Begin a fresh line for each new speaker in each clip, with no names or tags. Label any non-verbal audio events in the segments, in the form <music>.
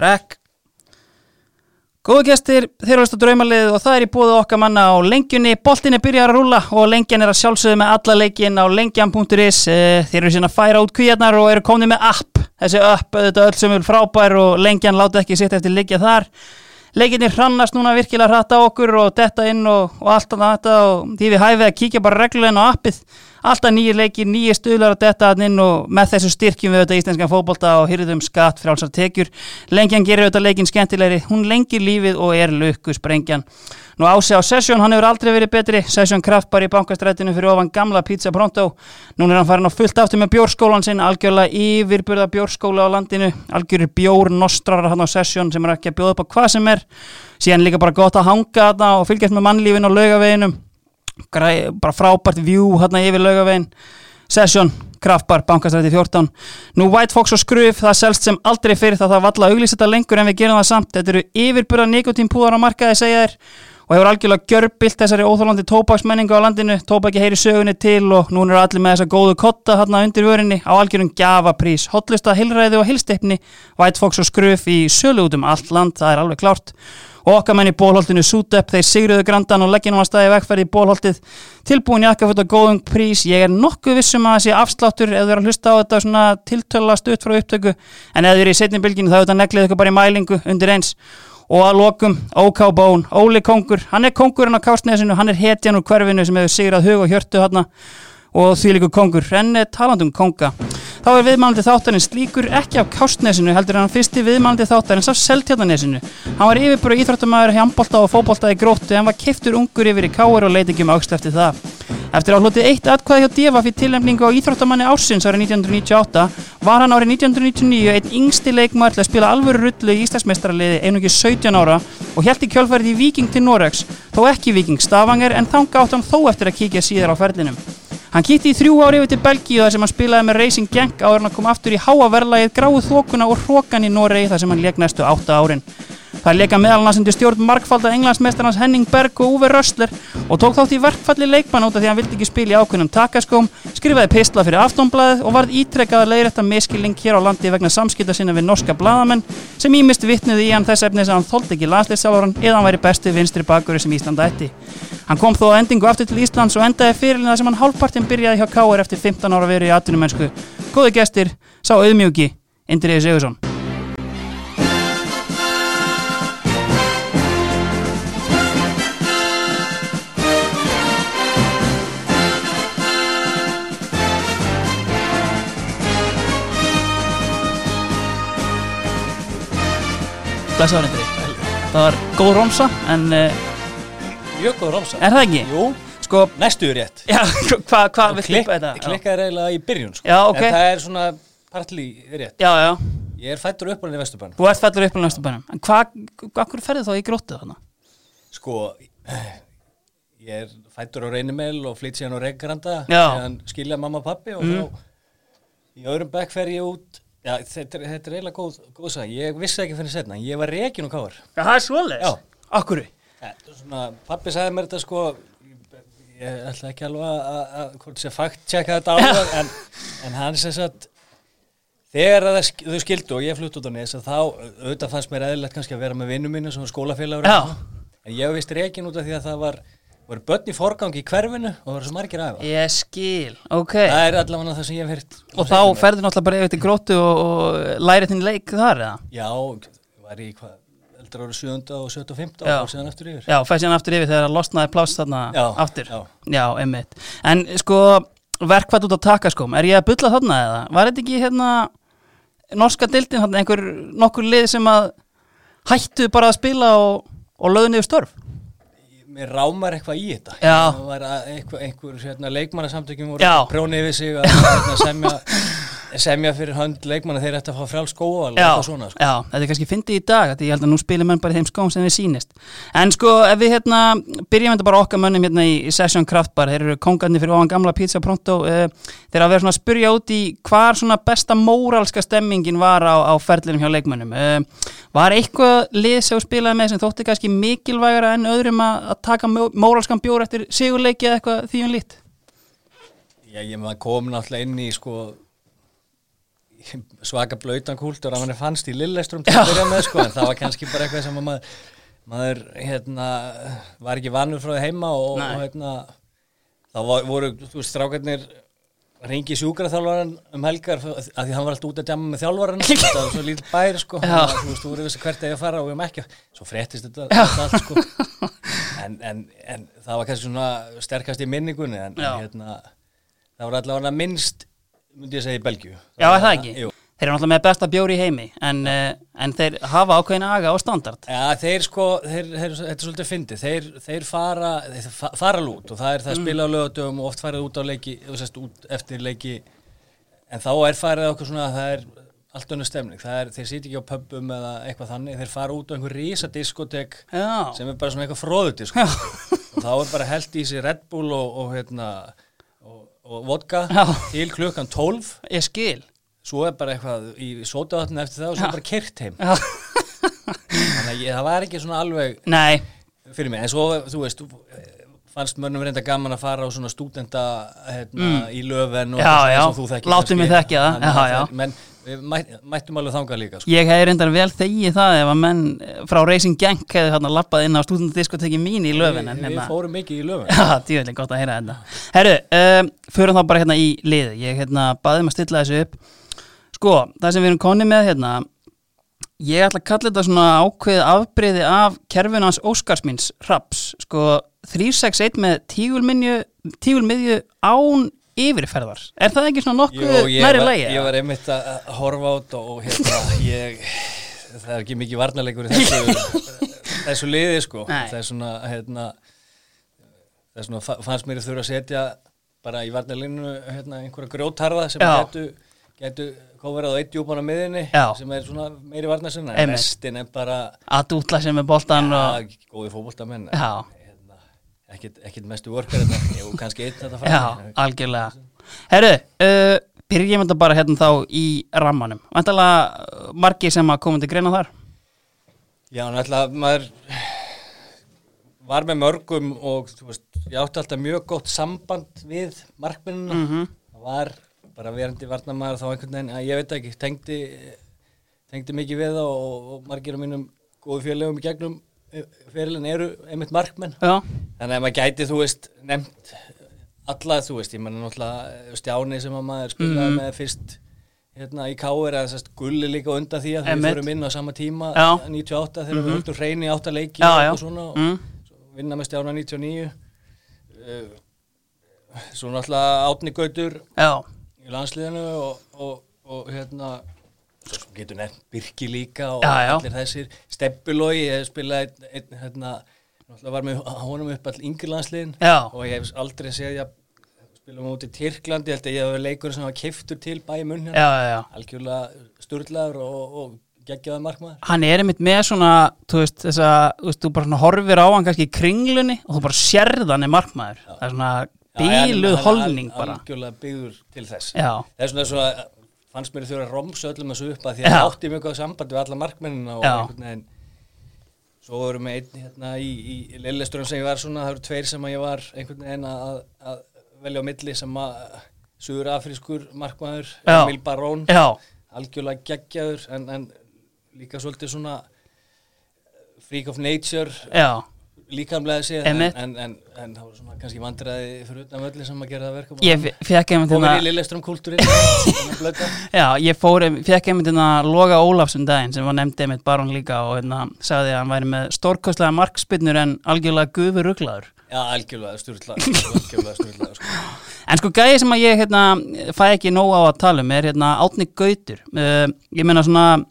Rekk Góðu gestir, þeir eru að draumalið og það er í búið okkar manna á lengjunni Boltin er byrjar að rúla og lengjan er að sjálfsögðu með alla leikin á lengjan.is Eh, Þeir eru síðan að færa út kvíarnar og eru komni með app Þessi app, auðvitað öll sem vil frábær og lengjan láta ekki sitt eftir leikja þar Leikinni hrannast núna virkilega hratt á okkur og detta inn og, og allt annað þetta og því við hæfið að kíkja bara reglulega inn á appið Alltaf nýjir leikir, nýjir stuðlar að detta þarna inn og með þessu styrkjum við auðvitað íslenskan fótbolta og hyrðum skatt frálsar tekjur. Lengjan gerir auðvitað leikin skemmtilegri, hún lengir lífið og er lukku sprengjan. Nú ási á Session, hann hefur aldrei verið betri, Session kraftbar í bankastrætinu fyrir ofan gamla pizza pronto. Núna er hann farin á fullt aftur með bjórskólan sinn, algjörlega yfirburða bjórskóla á landinu, algjörir bjór nostrar hann á Session sem er ekki að bjóða upp á hvað sem er. Síðan líka bara gott að hanga þarna og fylgjast með mannlífin og laugaveginum græ, bara frábært view hérna yfir laugavegin Session, Kraftbar, Bankastræti 14 Nú White Fox og Skruf, það selst sem aldrei fyrir það það valla að auglýsa þetta lengur en við gerum það samt Þetta eru yfirburða nikotínpúðar á markaði segja þér og hefur algjörlega gjörbilt þessari óþólandi tóbaksmenningu á landinu tóbaki heyri sögunni til og núna eru allir með þessa góðu kotta hérna undir vörinni á algjörum gjafaprís, hotlusta, hilræði og hilstefni White Fox og Skruf í sölu út um allt land, það er alveg klárt og okkar menn í bólholtinu Sútep, þeir sigruðu grandan og leggja nú að staði vegferði í bólholtið tilbúin jakkaföt og góðum prís ég er nokkuð vissum að það sé afsláttur ef þau eru að hlusta á þetta svona tiltöla stutt frá upptöku en ef þau eru í setni bylginu þá auðvitað neglið ykkur bara í mælingu undir eins og að lokum OK Bón, Óli Kongur hann er kongurinn á Kársnesinu, hann er hetjan úr hverfinu sem hefur sigrað hug og hjörtu hana og því líku kongur, en eh, talandi um konga þá er viðmælandi þáttarins líkur ekki af Kástnesinu heldur en hann fyrsti viðmælandi þáttarins af Seltjarnanesinu hann var yfirbúru íþróttamæður hjambolta og fótbolta í gróttu en var keiftur ungur yfir í káir og leit ekki um áksl eftir það eftir að hlutið eitt atkvæði hjá Devaf í tilnefningu á íþróttamanni ársins árið 1998 var hann árið 1999 einn yngsti leikmaður til að spila alvöru rullu í Íslandsmeistaraliði einungis 17 ára og held í kjölfærið í Viking til Noregs þó ekki Viking Stavanger en þanga átt hann þó eftir að kíkja síðar á ferlinum Hann kýtti í þrjú ári yfir til Belgíu þar sem hann spilaði með Racing Genk áður en að kom aftur í háaverlaðið gráu þókuna og hrókan í Noregi þar sem hann leik næstu átta árin. Það leika meðalans undir stjórn markfalda englandsmeistarnas Henning Berg og Uwe Rössler og tók þátt í verkfalli leikmann út af því að hann vildi ekki spila í ákveðnum takaskóm, skrifaði pistla fyrir aftónblaðið og varð ítrekkaða leiðrætta miskilling hér á landi vegna samskipta sinna við norska blaðamenn sem ímist vitnuði í hann þess efnis að hann þóldi ekki landsleisjálfóran eða hann væri besti vinstri bakur sem Íslanda ætti. Hann kom þó að endingu aftur til Íslands og endaði fyrirlina þar sem hann hálfpartinn byrjaði hjá Káir eftir 15 ára veru í atvinnumennsku. Góði gestir, sá auðmjúki, Indriði Sigursson. Blessaður Indriði. Það var góð romsa, en eh,
Mjög góð romsa
er það ekki?
Jú,
Sko,
næstu er rétt
já, <laughs> hvað hva, vilt
Klikk-
klippa þetta?
Klikkaði reyðilega í byrjun sko.
Já, ok.
En það er svona partli rétt
Já, já,
Ég er fættur uppalinn í Vesturbann
þú ert fellur upp á næstu bænum. En hvað, hvað hverju ferði þá í gróttu þarna?
Sko, ég er fættur á reynimel og flytt síðan á reyngranda
Já. Mm.
Síðan skilja mamma og pappi og þá Í öðrum bekk fer ég út Já, þetta, er- þetta er reyðilega góð, góð sag Ég vissi ekki fyrir setna, ég var reikin og káar
Já, það er svoleiðis.
Já.
Akkurri?
Þetta er svona, pappi sagði mér þetta sko ég ætla ekki alveg að- að að- hvort sé fakt
<laughs>
tjekka þetta áður en, en hann sem sagt þegar að það sk- þau skildu og ég flutt út á nes að þá auðvitað fannst mér eðlilegt kannski að vera með vinnum mínu sem var skólafélagur
Já.
en ég vist reikin út af því að það var var börn í forgang í hverfinu og það var svo margir aðeins
Ég skil, ok.
það er allavega það sem ég hef hýrt
Og þá ferði náttúrulega bara yfir til gróttu og, og læri þinn leik þar, eða?
já, var ég hvað, eldra ára 7. og 75.
Já.
og síðan eftir yfir
Já, fæði síðan aftur yfir þegar það losnaði pláss þarna
Já,
aftur.
já.
einmitt. En sko, verkvært út á takaskóm, er ég að bulla þarna eða? Var þetta ekki hérna norska dildin, þarna einhver nokkur lið sem að hættu bara að spila og, og löðu niður störf?
mér rámar eitthvað í þetta
Já.
það var að- einhver, einhver hérna, leikmannasamtökjum voru
Já.
að prjóna yfir sig
<laughs>
að hérna, semja, semja fyrir hönd leikmanna þeir ætti að fá frál skóa alveg, eitthvað svona, sko.
já, þetta er kannski fyndið í dag Þetta ég held að nú spilir menn bara í þeim skóm sem við sýnist En sko, ef við hérna byrjum þetta bara okkar mönnum hérna í, í Session Kraftbar Þeir eru kongarnir fyrir ofan gamla pizza pronto uh, Þeir að vera svona að spyrja út í hvar svona besta móralska stemmingin var á, á ferlinum hjá leikmönnum uh, Var eitthvað lið sem þú spilaði með sem þótti kannski mikilvægara en öðrum að, að taka mó- móralskan bjór eftir sigurleiki eða eitthvað því um lít
já, ég maður kom náttúrulega inn í sko, svaka blautan kúltur að manni fannst í Lillestrum til að byrja með sko, en það var kannski bara eitthvað sem að maður, maður hérna, var ekki vanur frá því heima og,
Nei.
og hérna, þá var, voru þú veist, strákarnir ringi sjúkraþjálvaran um helgar af því hann var alltaf út að djama með þjálvaran
<laughs>
þetta var svo lítill bær sko
Já.
Þannig að, þú veist, þú voru vissi hvert eigi að fara og við erum ekki svo fréttist þetta, þetta allt sko en, en, en það var kannski svona sterkast í minningunni en,
Já.
en hérna, það var allavega minnst myndi ég segja í Belgíu
Já, er það ekki?
Jú.
Þeir eru náttúrulega með besta bjóri í heimi en, uh, en þeir hafa ákveðin aga og standard
Já, þeir sko, þeir, þeir, þetta er svolítið fyndið, þeir, þeir fara, þeir fa- fara lút og það er
Mm.
það að spila á lögatöfum og oft farið út á leiki, þú sést, út eftir leiki, en þá er farið okkur svona að það er allt önnur stemning, það er, þeir sitja ekki á pöbbum eða eitthvað þannig, þeir fara út á einhver risadiskotek
Já,
sem er bara svona eitthvað fróðudisk
Já.
og þá er bara held í sig Red Bull og, og hérna, og, og vodka
Já.
til klukkan 12,
ég skil
svo er bara eitthvað í sótavatn eftir það og svo bara kyrt heim,
Já.
þannig að ég, það var ekki svona alveg
Nei,
fyrir mig, en svo, þú veist þú, eh, fannst mönnum reynda gaman að fara á svona stúdenda hérna, í löfven og
Mm. Já,
eitthvað
já.
sem þú þekkir
Látum
kannski.
við þekkja það.
Þannig að
Já, já.
það- menn við mætt, mættum alveg þangað líka sko.
ég hefði reyndar vel þegið það ef að menn frá Racing Gang hefði hérna lappað inn á stúdendiskoteki mín í löfin en
við, við
hérna
fórum mikið í
<laughs>
löfven
Já, djúvillig gott að heyra þetta. Herru, um, förum þá bara hérna í liðið. Ég hérna baðið maður að stilla þessu upp. Sko, það sem við erum konni með hérna, ég ætla að kalla þetta svona ákveðið afbreyði af kerfunans Óskarsmins Raps. Sko, 361 með tígulminju, tígulmiðju án yfirferðar. Er það ekki svona nokkuð
ég,
næri
var-
lægi?
ég var einmitt að að horfa át og og hérna, ég, það er ekki mikið varnarleikur í þessu, <laughs> þessu liði sko,
Nei.
það er svona, hérna, það er svona, fa- fannst mér að þurfa að setja bara í varnarlinu hérna, einhverja grjótarða sem
Já.
getu, getu kóverað á eitt djúpan á miðinni
Já.
sem er svona meiri varnarsinna,
Einmitt.
restin er bara
Að dútla sem er boltan og...
að, góði fótboltamenn,
Já.
hérna, ekkit, ekkit mestu orkar þetta, jú, kannski eitt þetta
Já,
fram,
algjörlega. Herru, uh, byrjum þetta bara hérna þá í rammanum. Vantalega margi sem að koma til greina þar.
Já, náttúrulega, maður var með mörgum og þú veist, ég átti alltaf mjög gott samband við markmennina það var bara verandi varnamaður þá einhvern veginn, að ég veit ekki, tengdi tengdi mikið við það og, og margir af mínum góðu félögum í gegnum fyrirlin eru einmitt markmenn
Já,
þannig að maður gæti, þú veist, nefnt alla, þú veist, ég menna náttúrulega eh, Stjáni sem að maður spilaði
Mhm.
með fyrst hérna í Káir eða sérst gulli líka á undan því að við
Einmitt.
fórum inn á sama tíma
Já. Mhm.
98 þegar við höldum hreinu í átta leiki
Já,
og
já.
eitthvað svona og
Mm.
svo vinna með Stjána 99 uh, svo náttúrulega Átni Gautur
já,
í landsliðinu og, og, og hérna svo sem getur nefnt Birki líka og
Já, já.
allir þessir Steppilogi, ég hef spilað einn, einn, hérna, náttúrulega var með honum upp all yngri landsliðin
já,
og ég hef aldrei séð ég spilum út í Tyrklandi, ég held að ég hef leikur sem var keiftur til bæði munn
já, já, já.
algjörlega sturlaður og, og geggjaði markmaður
Hann er einmitt með svona, þú veist, þessa, þú veist, þú bara svona horfir á hann kannski í kringlunni og þú bara sérð hann er markmaður. Það er svona bíluð
Hann er
holning
al-
bara.
algjörlega byggður til þess
Já,
það er svona svo að fannst mér þurfa að romsa öllum þessu upp að því að
Já.
það átti mjög góð samband við alla markmennina og
Já.
einhvern veginn svo vorum við einn hérna í, í Lilleström sem ég var svona, það eru tveir sem að ég var einhvern veginn að, að velja á milli sem að suður afrískur markmaður,
Já.
Emil Barón
já,
algjörlega geggjaður en, en líka svolítið svona freak of nature
já,
líkamlega séð en,
Einmitt.
en, en, en það var svona kannski vandræði fyrir utan öllu sem að gera það verkum
ég fe- fekk einmitt
komin í
hérna,
Lilleström
<laughs>
kúltúrin já,
já, ég fór, ein- fekk einmitt hérna Loga Ólafsson daginn sem var nefndi einmitt barón líka og hérna sagði að hann væri með stórkostlega markspinnur en algjörlega gufur rugglaður.
algjörlega styrla algjörlega styrla sko.
En sko gæði sem að ég hérna, fæ ekki nóg á að tala um er hérna Átni Gautur. Uh, ég meina svona,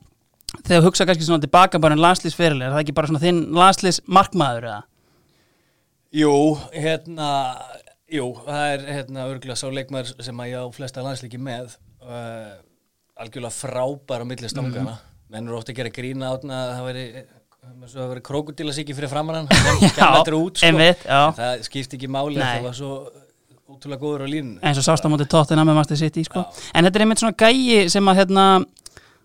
þegar þú hugsa kannski svona tilbaka bara um landslýsferileg, er það ekki bara svona þinn landslýs markmaður eða?
jú, hérna jú, það er hérna örgulega sá leikmaður sem að ég á flesta landslíki með uh, algjörlega frábær á milli stangana
Mhm.
menn eru ótt að gera grína átna að það veri svo að vera krókudilasíki fyrir
<laughs>
framrann þetta út sko.
einmitt, já.
En það skipti ekki máli
Nei.
það var svo útrúlega góður á línu
eins og sást á móti tóttina með Master City sko. en þetta er einmitt svona gæi sem að hérna,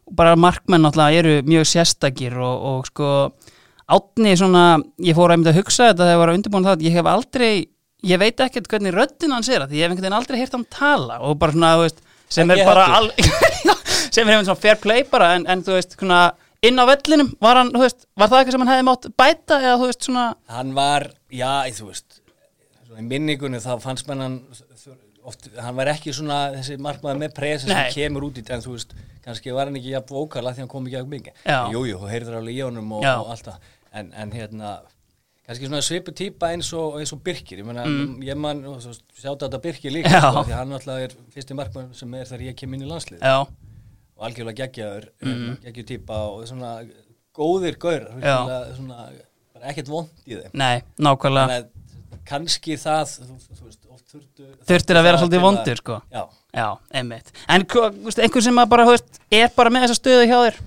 bara markmenn náttúrulega eru mjög sérstakir og, og sko átni svona, ég fór einmitt að hugsa þetta þegar ég var að undirbúin það, ég hef aldrei ég veit ekkert hvernig röddin hans er af því ég hef einhvern veginn aldrei heyrt hann tala og bara svona, þú veist sem <laughs>
Ekki
er bara
heldur.
al... sem er einhvern svona fair play bara en, en þú veist, svona, inn á vellinum var, hann, þú veist, var það eitthvað sem hann hefði mátt bæta eða þú veist svona
Hann var, já, í- þú veist, svona í minningunni þá fannst menn hann, oft, hann var ekki svona þessi markmaður með presa
Nei.
sem kemur út í þetta, en þú veist, kannski var hann ekki jafn vókal að því hann kom ekki að mingi.
Já.
Jú, jú, þú heyrður alveg í honum og,
Já.
og allt það, en, en hérna, kannski svona svipu típa eins og, eins og Birkir, ég menna, ég man, og þú veist, sjáta þetta Birkir líka,
Mm. Já.
sko, af því að hann alltaf er fyrsti markmaður sem er þegar ég kem inn í landslið
já,
og algjörlega geggjaður mm. geggjutýpa og svona góðir gaur svona, bara ekkert vond í þeim
nei, nákvæmlega
Þannig að kannski það þú, þú veist, oft þurftu
þurftir að vera
það
svolítið
til að-
vondur sko.
já,
já, einmitt en hva- þú veist, einhver sem að bara, þú veist, er bara með þessa stöðu hjá þér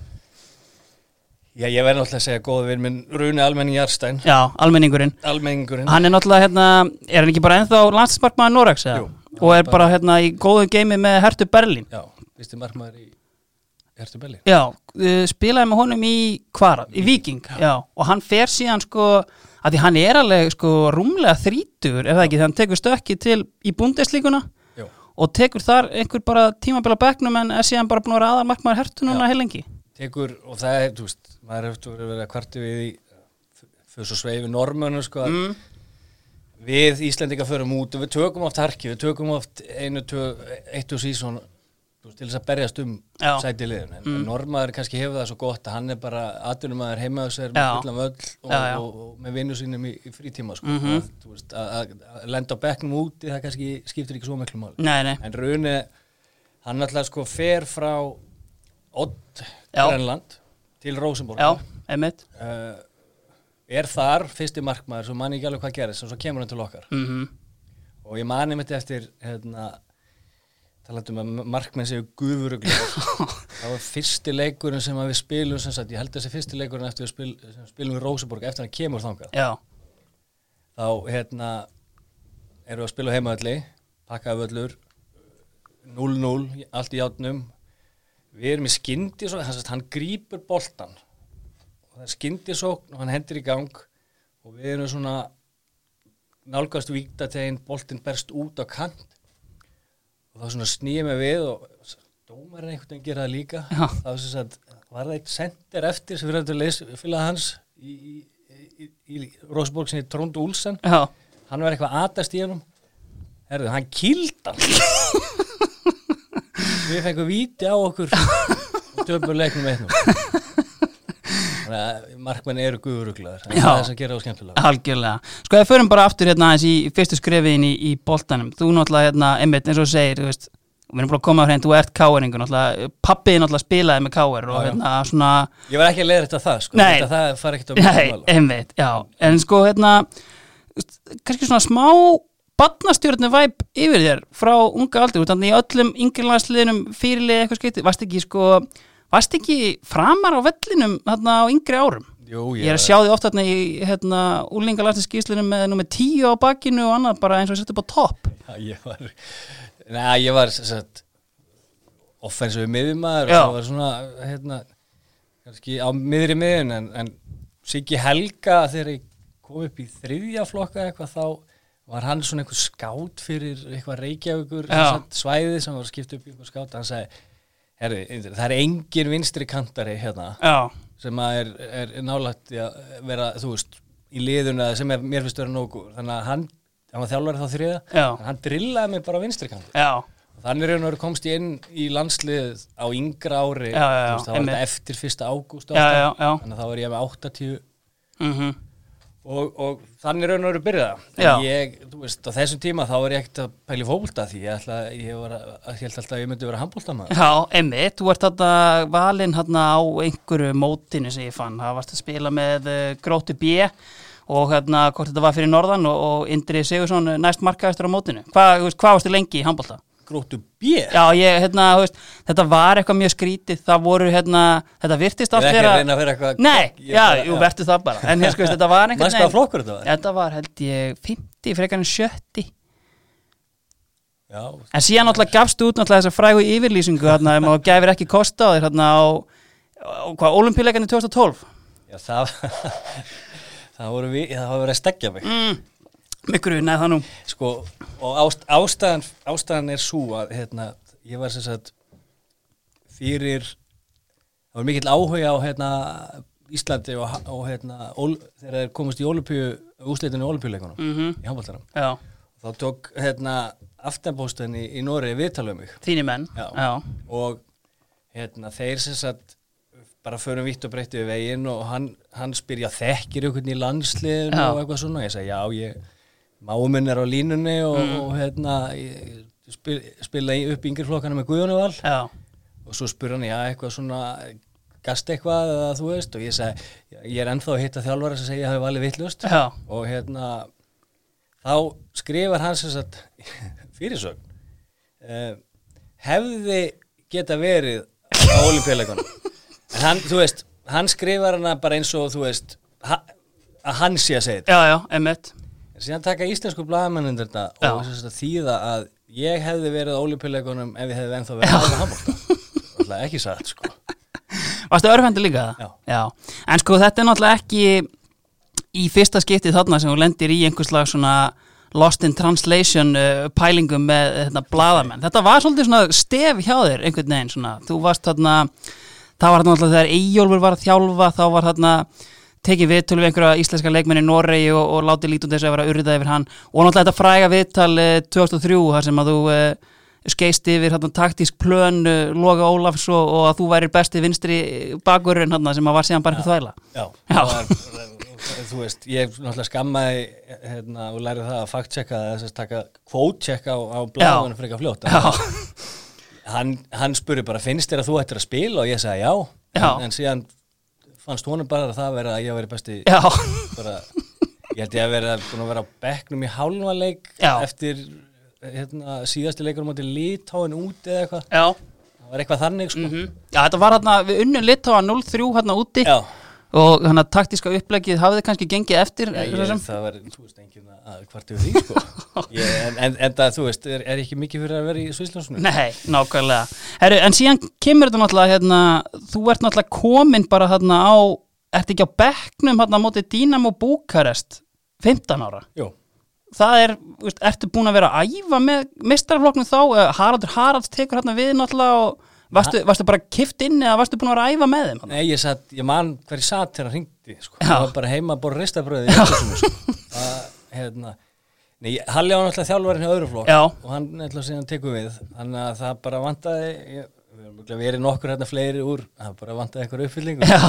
já, ég verði náttúrulega að segja góða vinn minn Rune Almenning Jarstein
já, almenningurinn
almenningurinn,
hann er náttúrulega, hérna, er hann ekki bara ennþá landsmarkmaður Norex eða?
Jú.
og er bara hérna í góðu geimi með Hertu Berlín
já, viðstu markmaður í Hertu Belli
Já, uh, spilaði með honum í hvar? Í Viking, já. Og hann fer síðan sko, að því hann er alveg sko rúmlega þrítur, er það ekki, þegar hann tekur stökki til í bundeslíkuna
já,
og tekur þar einhver bara tímabila bekknum en er síðan bara búin að vera aðalmarkmaður hertu núna heil lengi.
tekur, og það er, þú veist maður hefur verið að kvarti við í fyrir svo sveifi normönu, sko að
Mm.
við Íslendinga förum út og við tökum oft harki, við tökum oft einu, tö, eitt og síðan til þess að berjast um
Já.
sæti liðun en mm. normaður kannski hefur það svo gott að hann er bara atvinnumæður heima á sér
Já.
með fullan völl og,
Já, Mhm. já.
Og, og, með vinnu sínum í, í frítíma sko. að, þú veist, að, að- að lenda á bekknum úti það kannski skiptir ekki svo miklu máli
Nei, nei,
en Rune, hann alltaf sko fer frá Odd,
Já.
Grænland til Rosenborg
já, einmitt.
uh, er þar fyrsti markmaður svo man ég ekki alveg hvað gerist og svo kemur hann til okkar
Mm
og ég mani mitt eftir hérna, talandum um að markmenn séu
<laughs>
guðuruglega það var fyrsti leikurinn sem að við spilum sem sagt, ég held þessi fyrsti leikurinn eftir við spil, sem spilum við Róseborg eftir hann kemur þangað
Já,
þá hérna erum við að spila heimaðalli pakkaði völlur 0-0, allt í játnum við erum í skyndisókn hann, sagt, hann grípur boltan og það er skyndisókn og hann hendir í gang og við erum svona nálgast víktategin boltin berst út á kant og þá svona snýjum við við og dómarinn einhvern veginn gera það líka
Já.
þá sem sagt, var það eitt sendir eftir sem fyrir að fylga hans í, í, í, í, í Rósborg sinni Trond Úlsen
já,
hann var eitthvað aðast í hennum herðu, hann kýlda
<laughs>
við fengum víti á okkur og töfum leiknum einnum þannig að markmenn eru guðuruglaður það
Já.
er það sem gerir á skemmtilega
algjörlega. Sko, ef við förum bara aftur hérna aðeins í fyrstu skrefiðin í, í boltanum, þú náttúrulega hérna, einmitt, eins og þú segir, þú veist, við erum búin að koma á hrein, þú ert káeringur, náttúrulega, pappiði náttúrulega spilaði með káer og
Já, já.
hérna svona,
ég var ekki að leiða þetta það sko.
Nei.
þetta það far ekkert á mjög
Nei, einmitt, já En sko, hérna kannski svona smá batnastjórnu væp yfir þér frá unga aldur þannig í öllum yngrilandsliðinum fyrirlið eitthvað skeiti, varst ekki sko varst ekki framar á vellinum þarna á yngri árum
Jú,
Ég er að sjá því oft þarna í hérna, úlingalandsliðskíslunum með nummer 10 á bakkinu og annað bara eins og sett upp á topp
Já, ég var Nei, ég var sem sagt, offensive miðjumæður og
Já.
það var svona hérna, kannski á miðri miðjun en, en Siggi Helga þegar ég kom upp í þriðja flokka eitthvað þá var hann svona einhver skát fyrir eitthvað reykjavíkur sem
Já.
sagt, svæði sem var skipt upp í einhver skát hann sagði, herri, Indri, það er engin vinstri kantari hérna
Já,
sem að er, er nálægt í að vera, þú veist, í liðuna sem er, mér finnst vera nógu, þannig að hann hann var þjálfari þá þriða,
Já.
en hann drillaði mig bara á vinstri kanti
já,
þannig raun og veru komst ég inn í landslið á yngra ári
Já, já, já,
þú veist, þá var
einmitt.
þetta eftir fyrsta ágúst
Já, já, já.
þannig að þá var ég með 80
mhm
og, og þannig raun og veru byrjaða
Já.
en ég, þú veist, á þessum tíma þá var ég ekkert að pæli fókbólta því ég, ætla, ég, var, að- ég held alltaf að ég myndi vera handbóltamaður
Já, einmitt, þú ert þarna valinn þarna á einhverju mótinu sem ég fann, það varst að spila með eh, Gróttu B og hérna hvort þetta var fyrir norðan og, og Indri Sigursson eh, næst markaðistur á mótinu Hva, þú veist, hvað varstu lengi í handbólta?
gróttu bjö
Já, ég, hérna, þú veist, þetta var eitthvað mjög skrítið, það voru, hérna, þetta virtist
Ég er
allt
ekki
vera
að reyna að vera eitthvað-
Nei,
Ég er
já,
bara-
jú,
já.
vertu það bara En hérna, sko,
<laughs>
þetta var einhvern
Manstu hvaða flokkur þetta var?
Þetta var, held ég, 50, frekar en 70
já,
En síðan náttúrulega gafst út náttúrulega þessa frægu yfirlýsingu þarna um að gæfir ekki kosta á þér þarna á, á hvað, olimpíuleikandi 2012
já það <laughs> það voru við, það voru verið að stegja mig
mm. Mikru, neð það nú
sko, og ást, ástæðan, ástæðan er svo að hérna, ég var sem sagt fyrir það var mikill áhuga á hérna, Íslandi og, og hérna, ól, þegar þeir komast í Olupíu úsleitinu í Olupíuleikunum
mm
í handbóltanum
Já,
þá tók hérna, aftanbóstan í, í Noregi viðtalið um mig
þínir menn
Já.
Já.
og hérna, þeir sem sagt bara förum vitt og breytti við veginn og hann, hann spyrja þekkir einhvern í landsliðinu
Já.
og eitthvað svona og ég segi já, ég, máminn er á línunni og,
Mm.
og hérna ég, ég spil, spila í- upp yngri flokkana með Guðjónu Val
Já.
og svo spyr hann, já, eitthvað svona gast eitthvað eða þú veist og ég segi, ég er ennþá að hitta þjálfara sem segi að hafa valið vittlust
Já.
og hérna þá skrifar hann sem sagt <laughs> fyrirsögn uh, hefði geta verið á olimpíuleikunum en hann, þú veist, hann skrifar hana bara eins og þú veist ha, að hann sé að segja þetta
já, já, emmitt
en síðan taka íslensku blaðamennin þetta
Já.
og sem sagt, þýða að ég hefði verið á olimpíuleikunum ef ég hefði ennþá verið að handbólta alltaf ekki satt sko
Varstu örfendi líka það?
Já.
En sko þetta er náttúrulega ekki í fyrsta skiptið þarna sem þú lendir í einhverslag svona lost in translation uh, pælingum með þetta bladamenn. Þetta var svolítið svona stef hjá þér einhvern veginn svona. Þú varst þarna, það var þarna náttúrulega þegar Eyjólfur var að þjálfa, þá var þarna tekið viðtölu við einhverja íslenska leikmenn í Noregi og, og látið lítum þess að vera urðað yfir hann og náttúrulega þetta fræga viðtal uh, 2003 þar sem að þú uh, skeist yfir hérna, taktísk plön uh, Loga Ólafs og, og að þú værir besti vinstri bakurinn hérna, sem að var síðan bara einhver þvæla
Já,
Já.
það Var, eh, þú veist, ég náttúrulega skammaði hérna, og lærið það að fact-checka eða þess að taka quote-checka á, á bláðunum frekar fljótt.
Já,
Hann, hann spurði bara, finnst þér að þú ættir að spila og ég sagði já,
Já.
En, en síðan fannst honum bara að það verið að ég verið besti,
já,
bara, ég held ég að verið búin að vera á bekknum í hálfanleik
Já.
eftir hérna, síðasti leikur um átti lítáin út eða eitthvað,
já.
það var eitthvað þannig sko.
Mhm. já þetta var hérna, við unnum litáa 0-3 hérna úti
Já,
og hérna taktíska upplegið hafið kannski gengið eftir
Já,
svo
ég,
sem.
það var, þú veist, enginn að hvart yfir því,
<laughs>
sko. Ég, en, en, en það, þú veist, er, er ekki mikið fyrir að vera í Svísljónsunum?
Nei, nákvæmlega Heru, En síðan kemur þetta náttúrulega hérna, þú ert náttúrulega komin bara hérna á ert ekki á bekknum hérna á móti Dynamo Búkarest 15 ára
Jú,
það er, þú veist, ertu búin að vera að æfa með mistarflokknum þá, Eh, Haraldur Haralds tekur hérna við náttúrulega og varstu, varstu bara kift inn eða varstu búin að vera að æfa með þeim hérna?
nei, ég satt, ég man hver ég satt þegar hann hringdi, sko.
Já.
Það var bara heima að borra ristabröði í Svísljónsunum, sko. Það, hérna, nei, ég- Halli var náttúrulega þjálfarinn hjá öðru flokk
Já.
og hann náttúrulega síðan tekur við, þannig að það bara vantaði, ég, við erum örugglega verið nokkur hérna fleiri úr, það bara vantaði eitthvað uppfyllingu.
Já.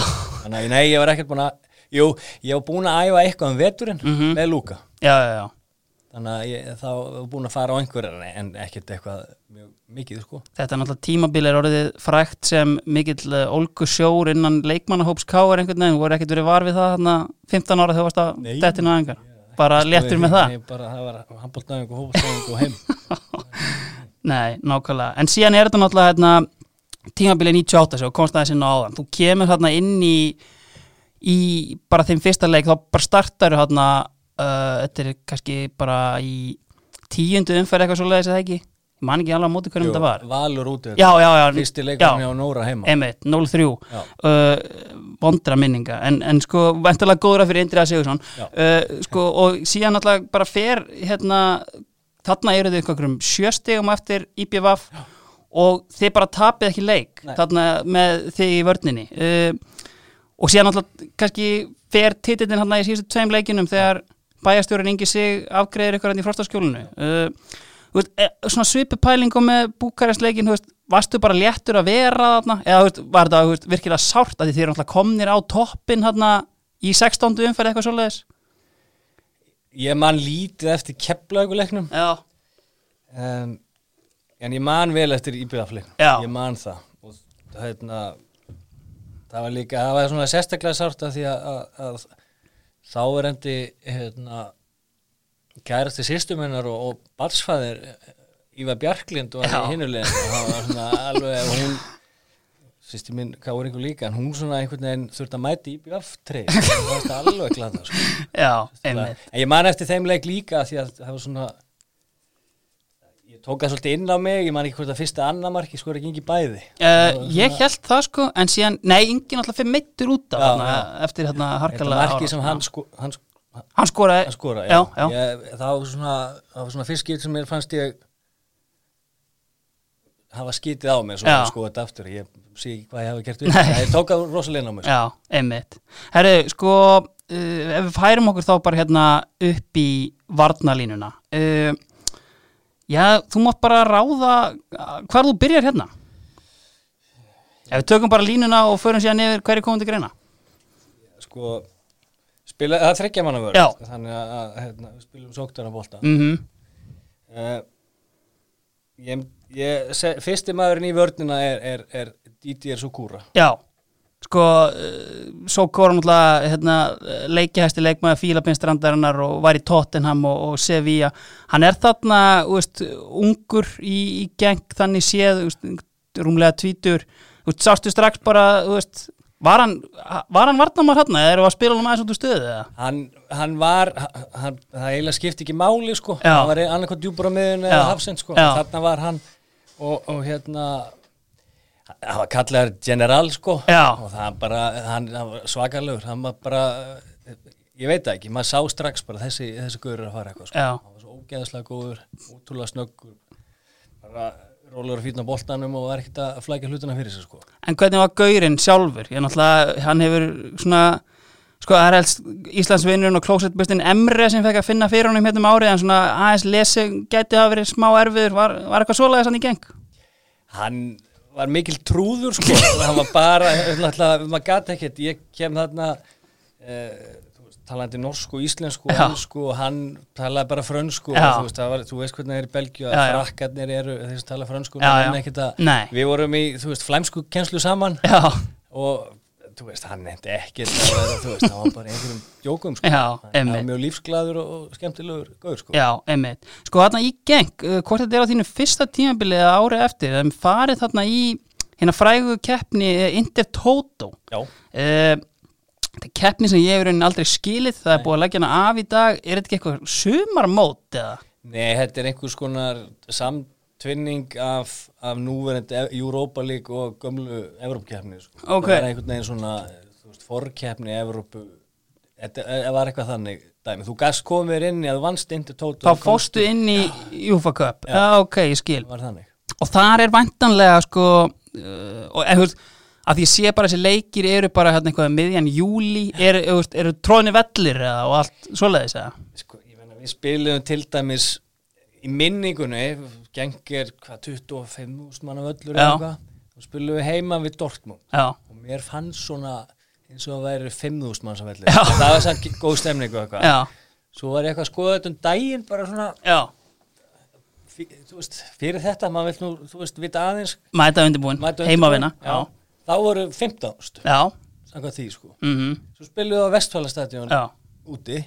Þannig að, nei, ég var ekkert búin að, jú, ég var búin að æfa eitthvað um veturinn
Mhm.
með Lúka.
Já, já, já,
þannig að ég þá er búin að fara á einhverjar en ekkert eitthvað mjög mikið sko.
þetta er náttúrulega tímabil er orðið frækt sem mikill eh, ólgusjór innan leikmannahóps K.R. einhvern veginn, voru ekkert verið var við það hérna 15 ára þegar varst að
Nei.
dettinu aðingar, bara léttur með það
hérna, Ég bara, það var handbóltæðing og hófbóltæðing og heim
Nei, nákvæmlega, en síðan er þetta náttúrulega hérna, tímabilið 98 sem þú komst aðeins inn á áðan, þú kemur hérna inn í, í bara þeim fyrsta leik, þá bara startar hérna, uh, þetta er kannski bara í tíundu umferð eitthvað svo leiðis eða ekki, ég man ekki alveg á móti hverjum þetta var
valur úti
Já, já, já,
fyrsti leikurinn
já.
hjá Nóra heima
Einmitt, 0-3
Já.
uh, vondra minninga en, en sko, væntalega góðra fyrir Indriða Sigursson
Já.
uh, sko, og síðan náttúrulega bara fer hérna, þarna eru þau einhverjum sjöstegum eftir IPVF og þið bara tapið ekki leik
Nei.
þarna með þið í vörninni uh, og síðan náttúrulega kannski fer titillin hérna í síðustu tveim leikinum þegar bæjarstjórin Ingi sig afgreðir ykkur hérna í frostaskjólinu uh, þú veist, e, svona svipu pælingum með búkarjastleikin, þú veist, varstu bara léttur að vera þarna, eða þú veist, var þetta þú veist, virkilega sárt að því þið eru náttúrulega komnir á toppin hérna í 16. umferð eitthvað svoleiðis
ég man lítið eftir keflauguleknum
Já,
en, en ég man vel eftir íbyrðafleiknum
Já.
ég man það og hérna það var líka, það var svona sérstaklega sárt af því að, að, að þáverendi hérna kærasti sýstumennar og, og barnsfæðir Ívar Bjarklind og
Já.
hinnulegin og það var svona alveg og hún sýsti minn káur einhver líka en hún svona einhvern veginn þurft að mæti í bjöftrei það var þetta alveg glada sko.
já,
en
einmitt
ég man eftir þeim leik líka því að það var svona ég tók það svolítið inn á mig ég man ekki hvort að fyrsta annamarki sko er ekki ekki bæði
Uh, ég held það sko, en síðan, nei, Ingi náttúrulega fyrir mittur út af
Já,
þarna, eftir hérna
þetta
harkalega
marki
árás.
sem hann, sko, hann, sko,
hann skoraði,
að skora
já, já,
Ég, það var svona, það var svona fyrst skil sem mér fannst ég hafa skítið á mig svo
Já.
að skoða þetta aftur ég sé ekki hvað ég hafi gert
<laughs>
við
Nei.
þetta ég tók að rosalega á mig sko.
Já, einmitt. Herru, sko, uh, ef við færum okkur þá bara hérna upp í varnalínuna. Uh, já, þú mátt bara ráða uh, hvar þú byrjar hérna. Ef við tökum bara línuna og förum síðan yfir hverju komum til greina.
sko spila, það er þryggja manna vörð
Já.
þannig að, að hérna, við spilum sóktara bolta
Mm
uh, ég, ég, se, fyrsti maðurinn í vörnina er, er, er Didier Sukura
Já, sko, uh, svo korum alltaf hérna, leikihæsti leikmaður Fílapinstrandarinnar og var í Tottenham og, og Sevilla. Hann er þarna, þú veist, ungur í, í geng þannig séð, þú veist, rúmlega tvítur. Þú veist, sástu strax bara, þú veist, var hann, var hann varnamar hérna eða erum við að spila hann aðeins út úr stöðu eða?
hann, hann var hann, það eiginlega skipti ekki máli sko
Já.
hann var annarkoð djúpur á miðun eða
Já.
hafsend sko
Já.
þarna var hann og, og hérna hann var kallaður general sko
Já.
og það bara, hann, hann var svakalögur hann var bara, ég veit það ekki maður sá strax bara þessi, þessi guður er að fara eitthvað sko,
Já.
hann var svo ógeðslega góður ótrúlega snöggur bara rólur að fýtna boltanum og var ekkert að flækja hlutina fyrir sig sko
En hvernig var gaurinn sjálfur? Ég náttúrulega, hann hefur svona, sko, það er helst Íslandsvinnurinn og klósettbustin Emre sem fekk að finna fyrir honum hérna um árið, en svona aðeins lesi gæti hafa verið smá erfiður, var, var eitthvað svoleiðis hann í geng?
hann var mikil trúður sko <laughs> hann var bara, náttúrulega, maður gata ekkert ég kem þarna eh, þú veist, talandi norsku, íslensku
Já.
hansku og hann talaði bara frönsku og
Já.
þú veist, það var, þú veist hvernig það er í Belgíu að
Já, já.
frakkarnir eru, þeir sem tala frönsku
Já, já.
hann ekkert að,
Nei.
við vorum í, þú veist, flæmsku kennslu saman
Já,
og þú veist, hann nefndi ekkert að vera, þú veist, hann var bara í einhverjum djókum sko,
Já,
hann
einmitt.
var mjög lífsglæður og, og skemmtilegur gaur sko
já, einmitt. Sko, þarna í geng, uh, hvort þetta er á þínu fyrsta tímabili eða árið eftir, þeim farið þarna í hérna frægu keppni eh, Intertoto.
Já.
Eh, Þetta er keppni sem ég hefur raunin aldrei skilið, það er búið að leggja hana af í dag, er þetta ekki eitthvað sumarmót eða?
Nei, þetta er einhvers konar samtvinning af, af núverend Europa League og gömlu Evrópkeppni sko.
Ok.
Það er einhvern veginn svona þú veist, forkeppni Evrópu Þetta e- var eitthvað þannig dæmi. Þú gast komir inn í að þú vannst indi tóta
Þá fórstu inn í Júfa Cup Já, ok, ég skil
Var þannig
Og þar er væntanlega sko uh, og eða, þú veist, að því ég sé bara þessi leikir eru bara hérna eitthvað miðjan júli eru, þú veist, eru tróðni vellir eða, og allt svoleiðis eða
sko, ég meina, Við spilum til dæmis í minningunni gengir hvað 25.000 manna völlur eða
Já.
eitthvað og spilum við heima við Dortmund
Já,
og mér fannst svona eins og að væri 5.000 manns að vellu
Já.
það var samt góð stemning og eitthvað
já,
Svo var ég eitthvað að skoða þetta um daginn bara svona,
já
fí- þú veist, fyrir þetta maður vill nú, þú veist, vita aðeins
Mæta undirbúin,
mæta undirbúin.
heimavina
Já. Þá voru 15 stu,
já,
samkvæmt því sko.
mm
Svo spiluðu á Vestfælastadjón
já,
úti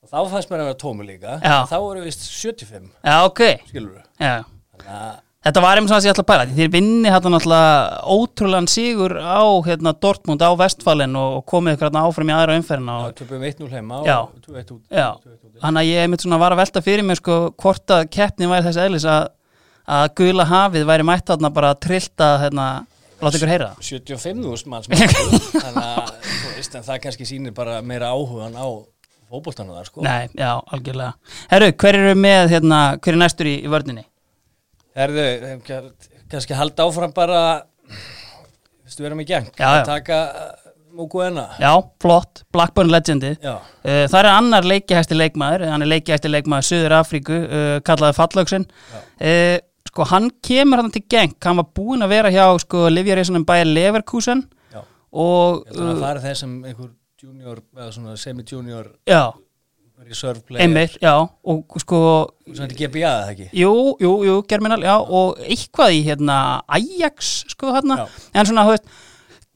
og þá fannst mér að vera tómi líka.
Já.
Þá voru vist 75,
já, ok
skilur við.
Já,
Þannig að,
Þetta var einmitt svona sem ég ætla að pæla því Þeir vinni hérna náttúrulega ótrúlegan sigur á hérna, Dortmund á Vestfalen og, og komið ykkur hérna áfram í aðra umferðina og
þá töpum við 1-0 heima
Já.
og 2-1 út.
Já,
2-1 úti.
þannig að ég einmitt svona var að velta fyrir mér sko hvort að keppnin væri þess eðlis að, að gula hafið væri mætt þarna bara að trillta hérna, láta ykkur heyra það.
75.000
<laughs>
manns mættu. Þannig að, þú veist, en það kannski sýnir bara meira áhugan á fótboltanu þar sko.
Nei, já, algjörlega. Herru, hver eru með hérna, hver er næstur í, í vörninni?
Herðu, þeim kann- kannski halda áfram bara Vistu vera með geng
Já, já.
Að Taka uh, Muguena
Já, flott, Blackburn legendi.
Já,
Uh, það er annar leikihæsti leikmaður, hann er leikihæsti leikmaður Suður Afríku, uh, kallaði Fallöksin. Uh, sko, hann kemur hann til geng, hann var búinn að vera hjá sko, Livja Reisunum bæja Leverkusen
já
og,
Þannig að fara þeir sem einhver junior eða svona semi-junior
já,
reserve player
einmitt, já, og sko,
Svona þetta GBA eða ekki
Jú, jú, jú, germinal, já, og eitthvað í hérna Ajax, sko, hérna,
Já.
en svona, þú veist,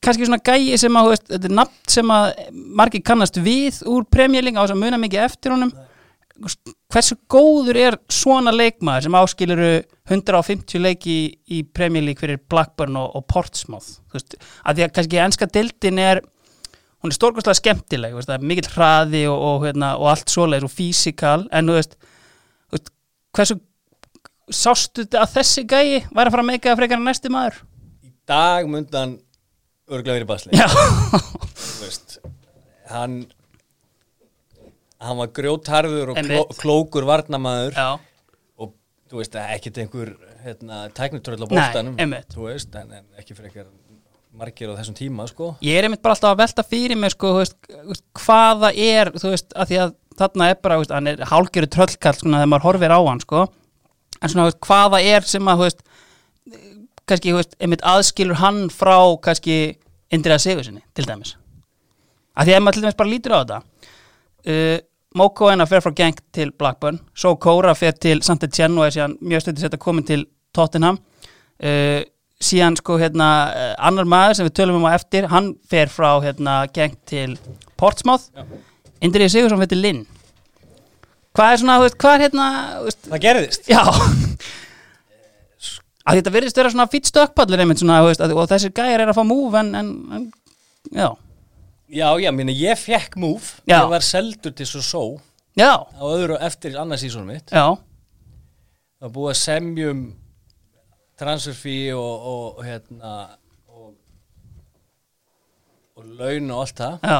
kannski svona gæi sem að, þú veist, þetta er nafn sem að margir kannast við úr premjöling á þess að muna mikið eftir honum, hversu góður er svona leikmaður sem áskiluru 150 leiki í, í premjöling fyrir Blackburn og, og Portsmouth, þú veist, að því að kannski enska dildin er, hún er stórkostlega skemmtileg, þú veist, það er mikill hraði og, og, hérna, og allt svoleiðis og físikal, en þú veist, þú veist, hversu sástu þetta að þessi gæi væri að fara að meika það frekar en næsti maður
Í dag mundan örglega verið basli
já,
Þú veist Hann Hann var grjótharður og kló,
Einmitt.
klókur varnamaður
já,
og þú veist, ekkert einhver hérna, tæknitröll á
Nei,
bóltanum
einmitt.
þú veist, en, en ekki frekar margir á þessum tíma sko
Ég er einmitt bara alltaf að velta fyrir mig sko, þú veist, þú veist, hvaða er þú veist, að því að þarna er bara þú veist, hann er hálgjöru tröllkall svona þegar maður horfir á hann sko. en svona þú veist, hvaða er sem að þú veist, kannski þú veist, einmitt aðskilur hann frá kannski Indriða Sigursinni til dæmis að því að ef maður til dæmis bara lítur á þetta uh, Moko enna fer frá Genk til Blackburn svo Kóra fer til Sant'Etienne og er síðan mjög stöndið sett að komin til Tottenham uh, síðan sko hérna uh, annar maður sem við tölum um á eftir hann fer frá hérna Genk til Portsmouth Indriði Sigursson fer til Linn hvað er svona, þú veist, hvað er hérna þú veist,
það gerðist
Já <laughs> að Þetta virðist vera svona fýtt stökkpallur einmitt svona, þú veist, að, og þessir gæjar er að fá múf en, en, en já,
já, já, minna, ég fekk múf
Já.
ég var seldur til svo só
já,
á öðru eftir annars sísónum mitt
já
það var búið að semjum transferfí og, og hérna og, og laun og allt það
já,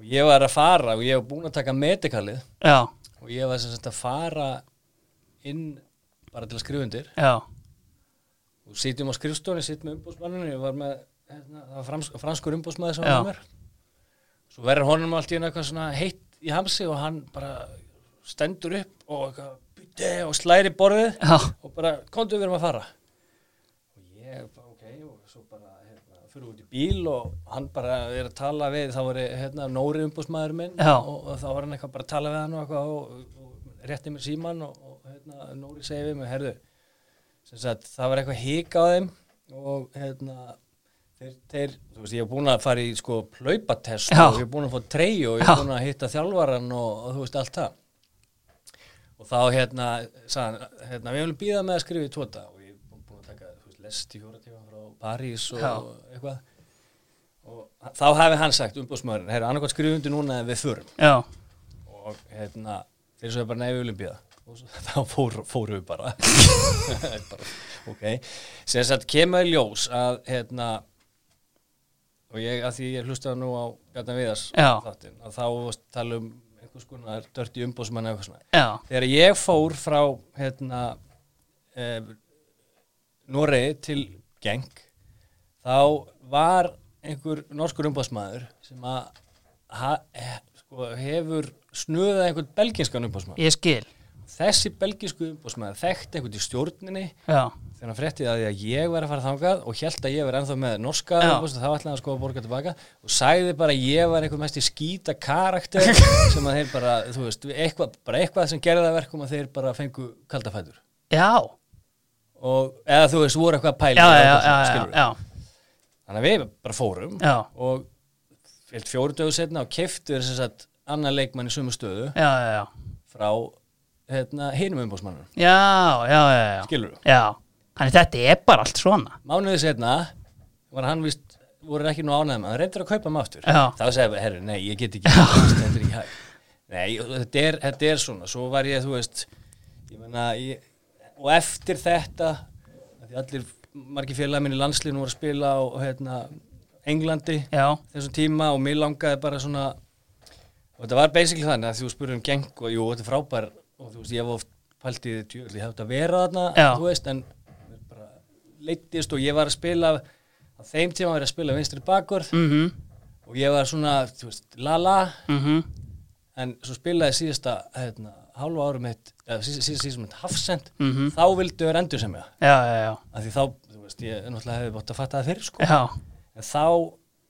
og ég var að fara og ég var búin að taka medikalið
já,
og ég var sem sagt að fara inn bara til að skrifa undir
já
og sitjum á skrifstofunni, sitjum með umbúsmanninu ég var með, hérna, það var frans, franskur umbúsmaður sem
Já.
var með mér svo verður honum allt í einu eitthvað svona heitt í hamsi og hann bara stendur upp og eitthvað bytti og slæri borðið
Já.
og bara, komdu við erum að fara og ég, bara, ok, og svo bara hérna, fyrir út í bíl og hann bara er að tala við, þá voru hérna Nóri umbúsmaður minn
Já.
og, og þá var hann eitthvað bara að tala við hann og eitthvað og, og rétti mér síman og, og hérna, Nóri segi við mig, herðu sem sagt, það var eitthvað hík á þeim og hérna þeir, þeir, þú veist, ég hef búin að fara í sko plaupatest
Já.
og ég hef búin að fá trey og ég
Já.
hef búin að hitta þjálfaran og, og þú veist, allt það og þá hérna, sagðan, hérna við viljum býða með að skrifa í tóta og ég hef búin að taka, þú veist, lest í fjóra tíma frá París og
Já.
eitthvað og þá hefði hann sagt umbúðsmaðurinn, heyrðu, annarkvæmt skrifundi núna en við förum
já,
og hérna þeir svo bara nefið olimpíða og svo, <laughs> þá fór, fóru við bara, <laughs> bara ok sem sagt kemur í ljós að hérna og ég að því ég hlustaði nú á Bjarnar Viðars
Já.
þáttinn, að þá varst að tala um einhvers konar dörti umbóðsmann eða eitthvað svona
já
þegar ég fór frá hérna eh, Noregi til Genk þá var einhver norskur umbásmaður sem að ha, eh, sko, hefur snuðað einhvern belginskan umbásmaður
Ég skil,
þessi belginsku umbásmaður þekkt einhvern í stjórninni
já,
þegar hann fréttið að, því að ég var að fara þangað og held að ég var ennþá með norska
Já.
umbóðsmann, þá ætlaði hann sko að borga tilbaka og sagði bara að ég var einhver mest í skýta
<laughs>
karakter sem að þeir bara, þú veist, eitthvað, bara eitthvað sem gerði það að verkum að þeir bara fengu kaldafætur
já
og eða þú veist, voru eitthvað að
Já,
pæla
já,
eða
já,
eitthvað svona,
já,
skilurðu.
já,
þannig að við bara fórum
Já.
og fyllt fjóru dögu setna og keftu þess að annar leikmann í sömu stöðu
já, já, já,
frá hérna, hinum umbóðsmannum,
já, já, já, já.
skilur
Já, þannig þetta er bara allt svona
mánuði setna var hann vist, voru ekki nú ánæðum hann reyndir að kaupa mig aftur
Já.
þá sagði bara, herru, nei, ég get ekki þetta er ekki hægt nei, þetta er, þetta er svona, svo var ég, þú veist ég meina, ég, og eftir þetta af því allir, margir félagi minni í landslinu voru að spila á, hérna, Englandi
Já,
þessum tíma og mér langaði bara svona og þetta var basically þannig að þú spurði um geng og jú, þetta er frábær og þú veist, ég hef oft pælt í þetta ég hef þetta að vera þarna,
Já.
þú veist en mér bara leittist og ég var að spila á þeim tíma var ég að spila vinstri bakvörð
mhm,
og ég var svona, þú veist, la la
mhm
en svo spilaði síðasta hérna, hálfa árum mitt eða síðasta, síðasta síðasta mitt hafsend
Mhm.
þá vildu er endur sem ég
Já, já, já,
að því þá, þú veist, ég náttúrulega hefði bótt að fatta það fyrir sko
já,
en þá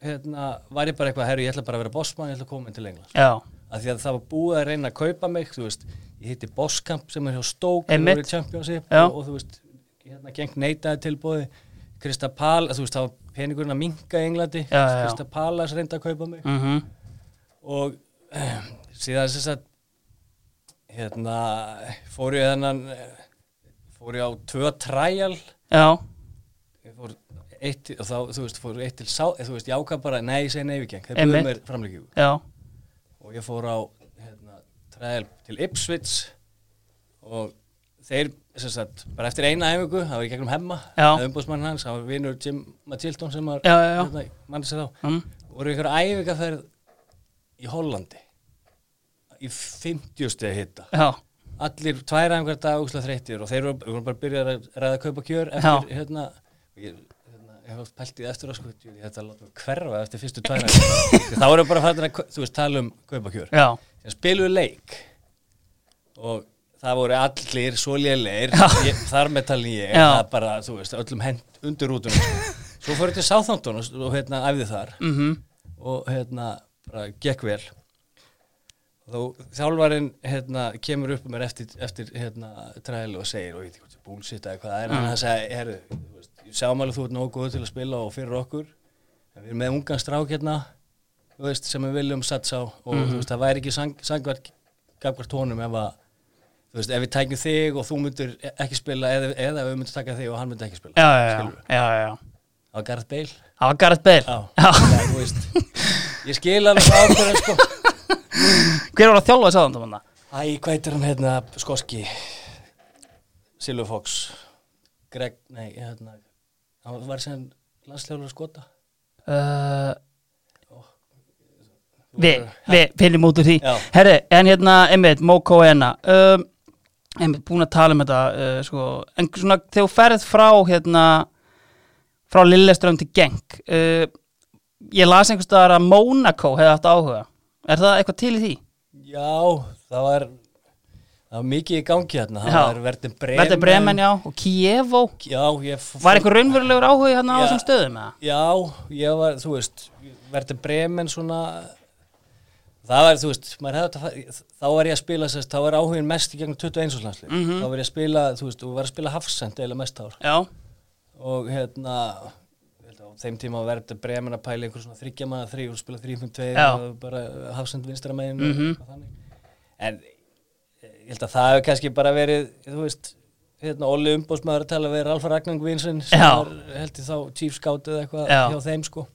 hérna, var ég bara eitthvað, herru, ég ætla bara að vera bossmann, ég ætla að koma inn til England
já
af því að það var búið að reyna að kaupa mig þú veist, ég hitti Boskamp sem er hjá Stoke þeir
Einmitt.
voru í Championship
Já.
og, og þú veist, hérna geng neitaði tilbúði Krista Pal, þú veist, það var peningurinn að minka í Englandi,
Já, já, já.
Krista Palas reynda að kaupa mig
mhm,
og <clears throat> eh, síðan sem sagt hérna fór ég þennan eh, fór ég á tvö trial
Já,
ég fór eitt til- og þá, þú veist, fór eitt til sá, eh, þú veist, ég ákvað bara, nei, ég segi nei við geng þeir
Einmitt.
búið mér framlíkjú
já,
og ég fór á hérna, træðil til Ipswich og þeir sem sagt, bara eftir eina æfingu það var í gegnum hemma,
Já.
umbúðsmann hans það var vinur Jim Matildon sem var
Já, já, já.
mann sér þá
mhm
voru ykkur æfingaferð í Hollandi í 50 stegi hitta
Já,
allir tværa einhver dag úsla þreyttir og þeir eru, voru bara að byrja að ræða- ræða að kaupa kjör eftir,
Já.
hérna, ég, hérna, ég hef oft pælt í því eftir að sko, ég þetta láta mig hverfa eftir fyrstu
<laughs>
tværa æfingar. þá erum bara fættin að, kau- þú veist, tala um kaupa kjör
já,
sem spiluðu leik og það voru allir svo lélegir, ég- þar með talin ég
Já.
það bara, þú veist, öllum hent undir rútum
<laughs>
svo fóru til Southampton og, og hérna æfði þar
mhm,
og hérna, bara gekk vel og þá þjálfarinn hérna, kemur upp um mér eftir, eftir hérna, træðilega og segir og ég veit ekki hvort það er búlsitt eða hvað það er en
Mm.
hann sagði, herru, þú veist, ég sjáum alveg þú ert nógu góð til að spila og fyrir okkur en við erum með ungan strák hérna þú veist, sem við viljum satsa á og
Mhm.
þú veist, það væri ekki sang, sangvart gafkvart honum ef að þú veist, ef við tækjum þig og þú myndir e-, ekki spila eða, eða við myndir taka þig og hann myndir ekki spila
já, já, já,
Skilurðu?
já, já, já.
það var Gareth Bale
Það var Gareth Bale.
Já,
Já. <laughs>
það er, þú veist Ég skil alveg það ákveðin sko
Hver var að þjálfa þess aðan þannig?
<laughs> Æ, hvað heitir hann hérna, skoski Silvur Fox Greg, nei, hérna Hann var sem landsljóður skota
Uh, við, við finnum út úr því.
Já.
Herri, en hérna, einmitt, Moko Enna. Um, einmitt, búin að tala um þetta, uh, sko, en svona þegar þú ferð frá, hérna, frá Lilleström til Genk, uh, ég las einhvers staðar að Monaco hefði haft áhuga. Er það eitthvað til í því?
Já, það var Það var mikið í gangi hérna Það
Já.
var verðin bremen
Verði Bremen, já, og Kievo.
Já, ég f-
Var einhver raunverulegur áhugi hérna á
Já.
þessum stöðum, eða?
Já, ég var, þú veist, verði bremen svona, það var, þú veist, maður hefði átt að fara, þá var ég að spila, sérst, þá var áhugin mest í gegnum 21 landslið, þá var ég að spila, þú veist, og var að spila hafsend eða mest ár
Já,
og hérna, ég held að á þeim tíma var verði bremen að pæla einhver svona þryggja manna þrý og spila 3-5-2
Já. Mhm.
og bara hafsend vinstra megin og þannig, en ég held að það hefur kannski bara verið, þú veist, hérna, Olli umbóðsmaður að tala við Ralfa Ragnang Vinsinn sem
Já.
var held ég þá Chief Scout eða eitthvað
Já.
hjá þeim sko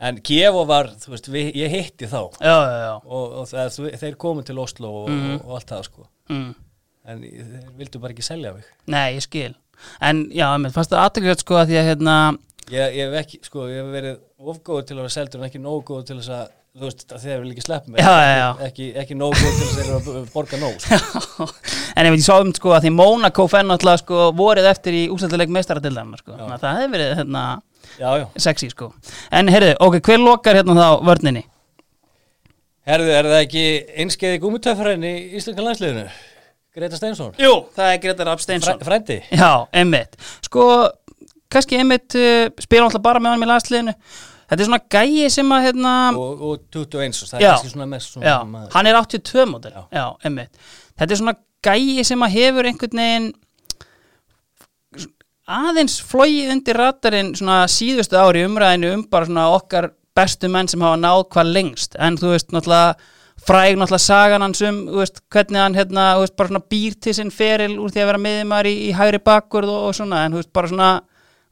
en Kievo var, þú veist, við, ég hitti þá og,
já, já, já.
og það, þú- þeir komu til Oslo og,
Mhm.
og, allt það sko
Mm.
en þeir vildu bara ekki selja mig
Nei, ég skil. En já, mér fannst það aðtökulegt sko að því að hérna, <laughs>
ég, ég hef ekki, sko, ég hef verið ofgóður til að vera seldur en ekki nógu góður til þess að þú veist, að þeir vil ekki sleppa mig
Já, já, já.
Ekki, ekki nógu góður til þess að þeir eru að borga nóg sko.
en ég veit, ég sá um sko að því Monaco fenn alltaf sko vorið eftir í úsættileg meistaradildarnar sko. Þannig að það hefði verið hérna
já, já
sexy sko. En heyrðu, ok, hver lokar hérna þá vörninni?
Herðu, er það ekki einskeiði gúmutöfræðin í Íslenska landsliðinu? Greta Steinsson?
Jú, það er Gretar
Fræ,
Absteinsson.
frændi?
Já, einmitt. Sko, kannski einmitt uh, spila alltaf bara með hann í landsliðinu. Þetta er svona gæi sem að hérna...
og, og 21 og það
Já.
er kannski svona mest svona
já,
maður.
hann er 82 mótil já.
Já.
einmitt þetta er svona gæi sem að hefur einhvern veginn aðeins flogið undir ratarinn svona síðustu ári umræðinu um bara svona okkar bestu menn sem hafa náð hvað lengst en þú veist náttúrulega fræg náttúrulega sagan hans um þú veist, hvernig hann hérna, þú veist, bara svona býr til sinn feril úr því að vera miðjumar í, í hægri bakkurð og, og svona en þú veist bara svona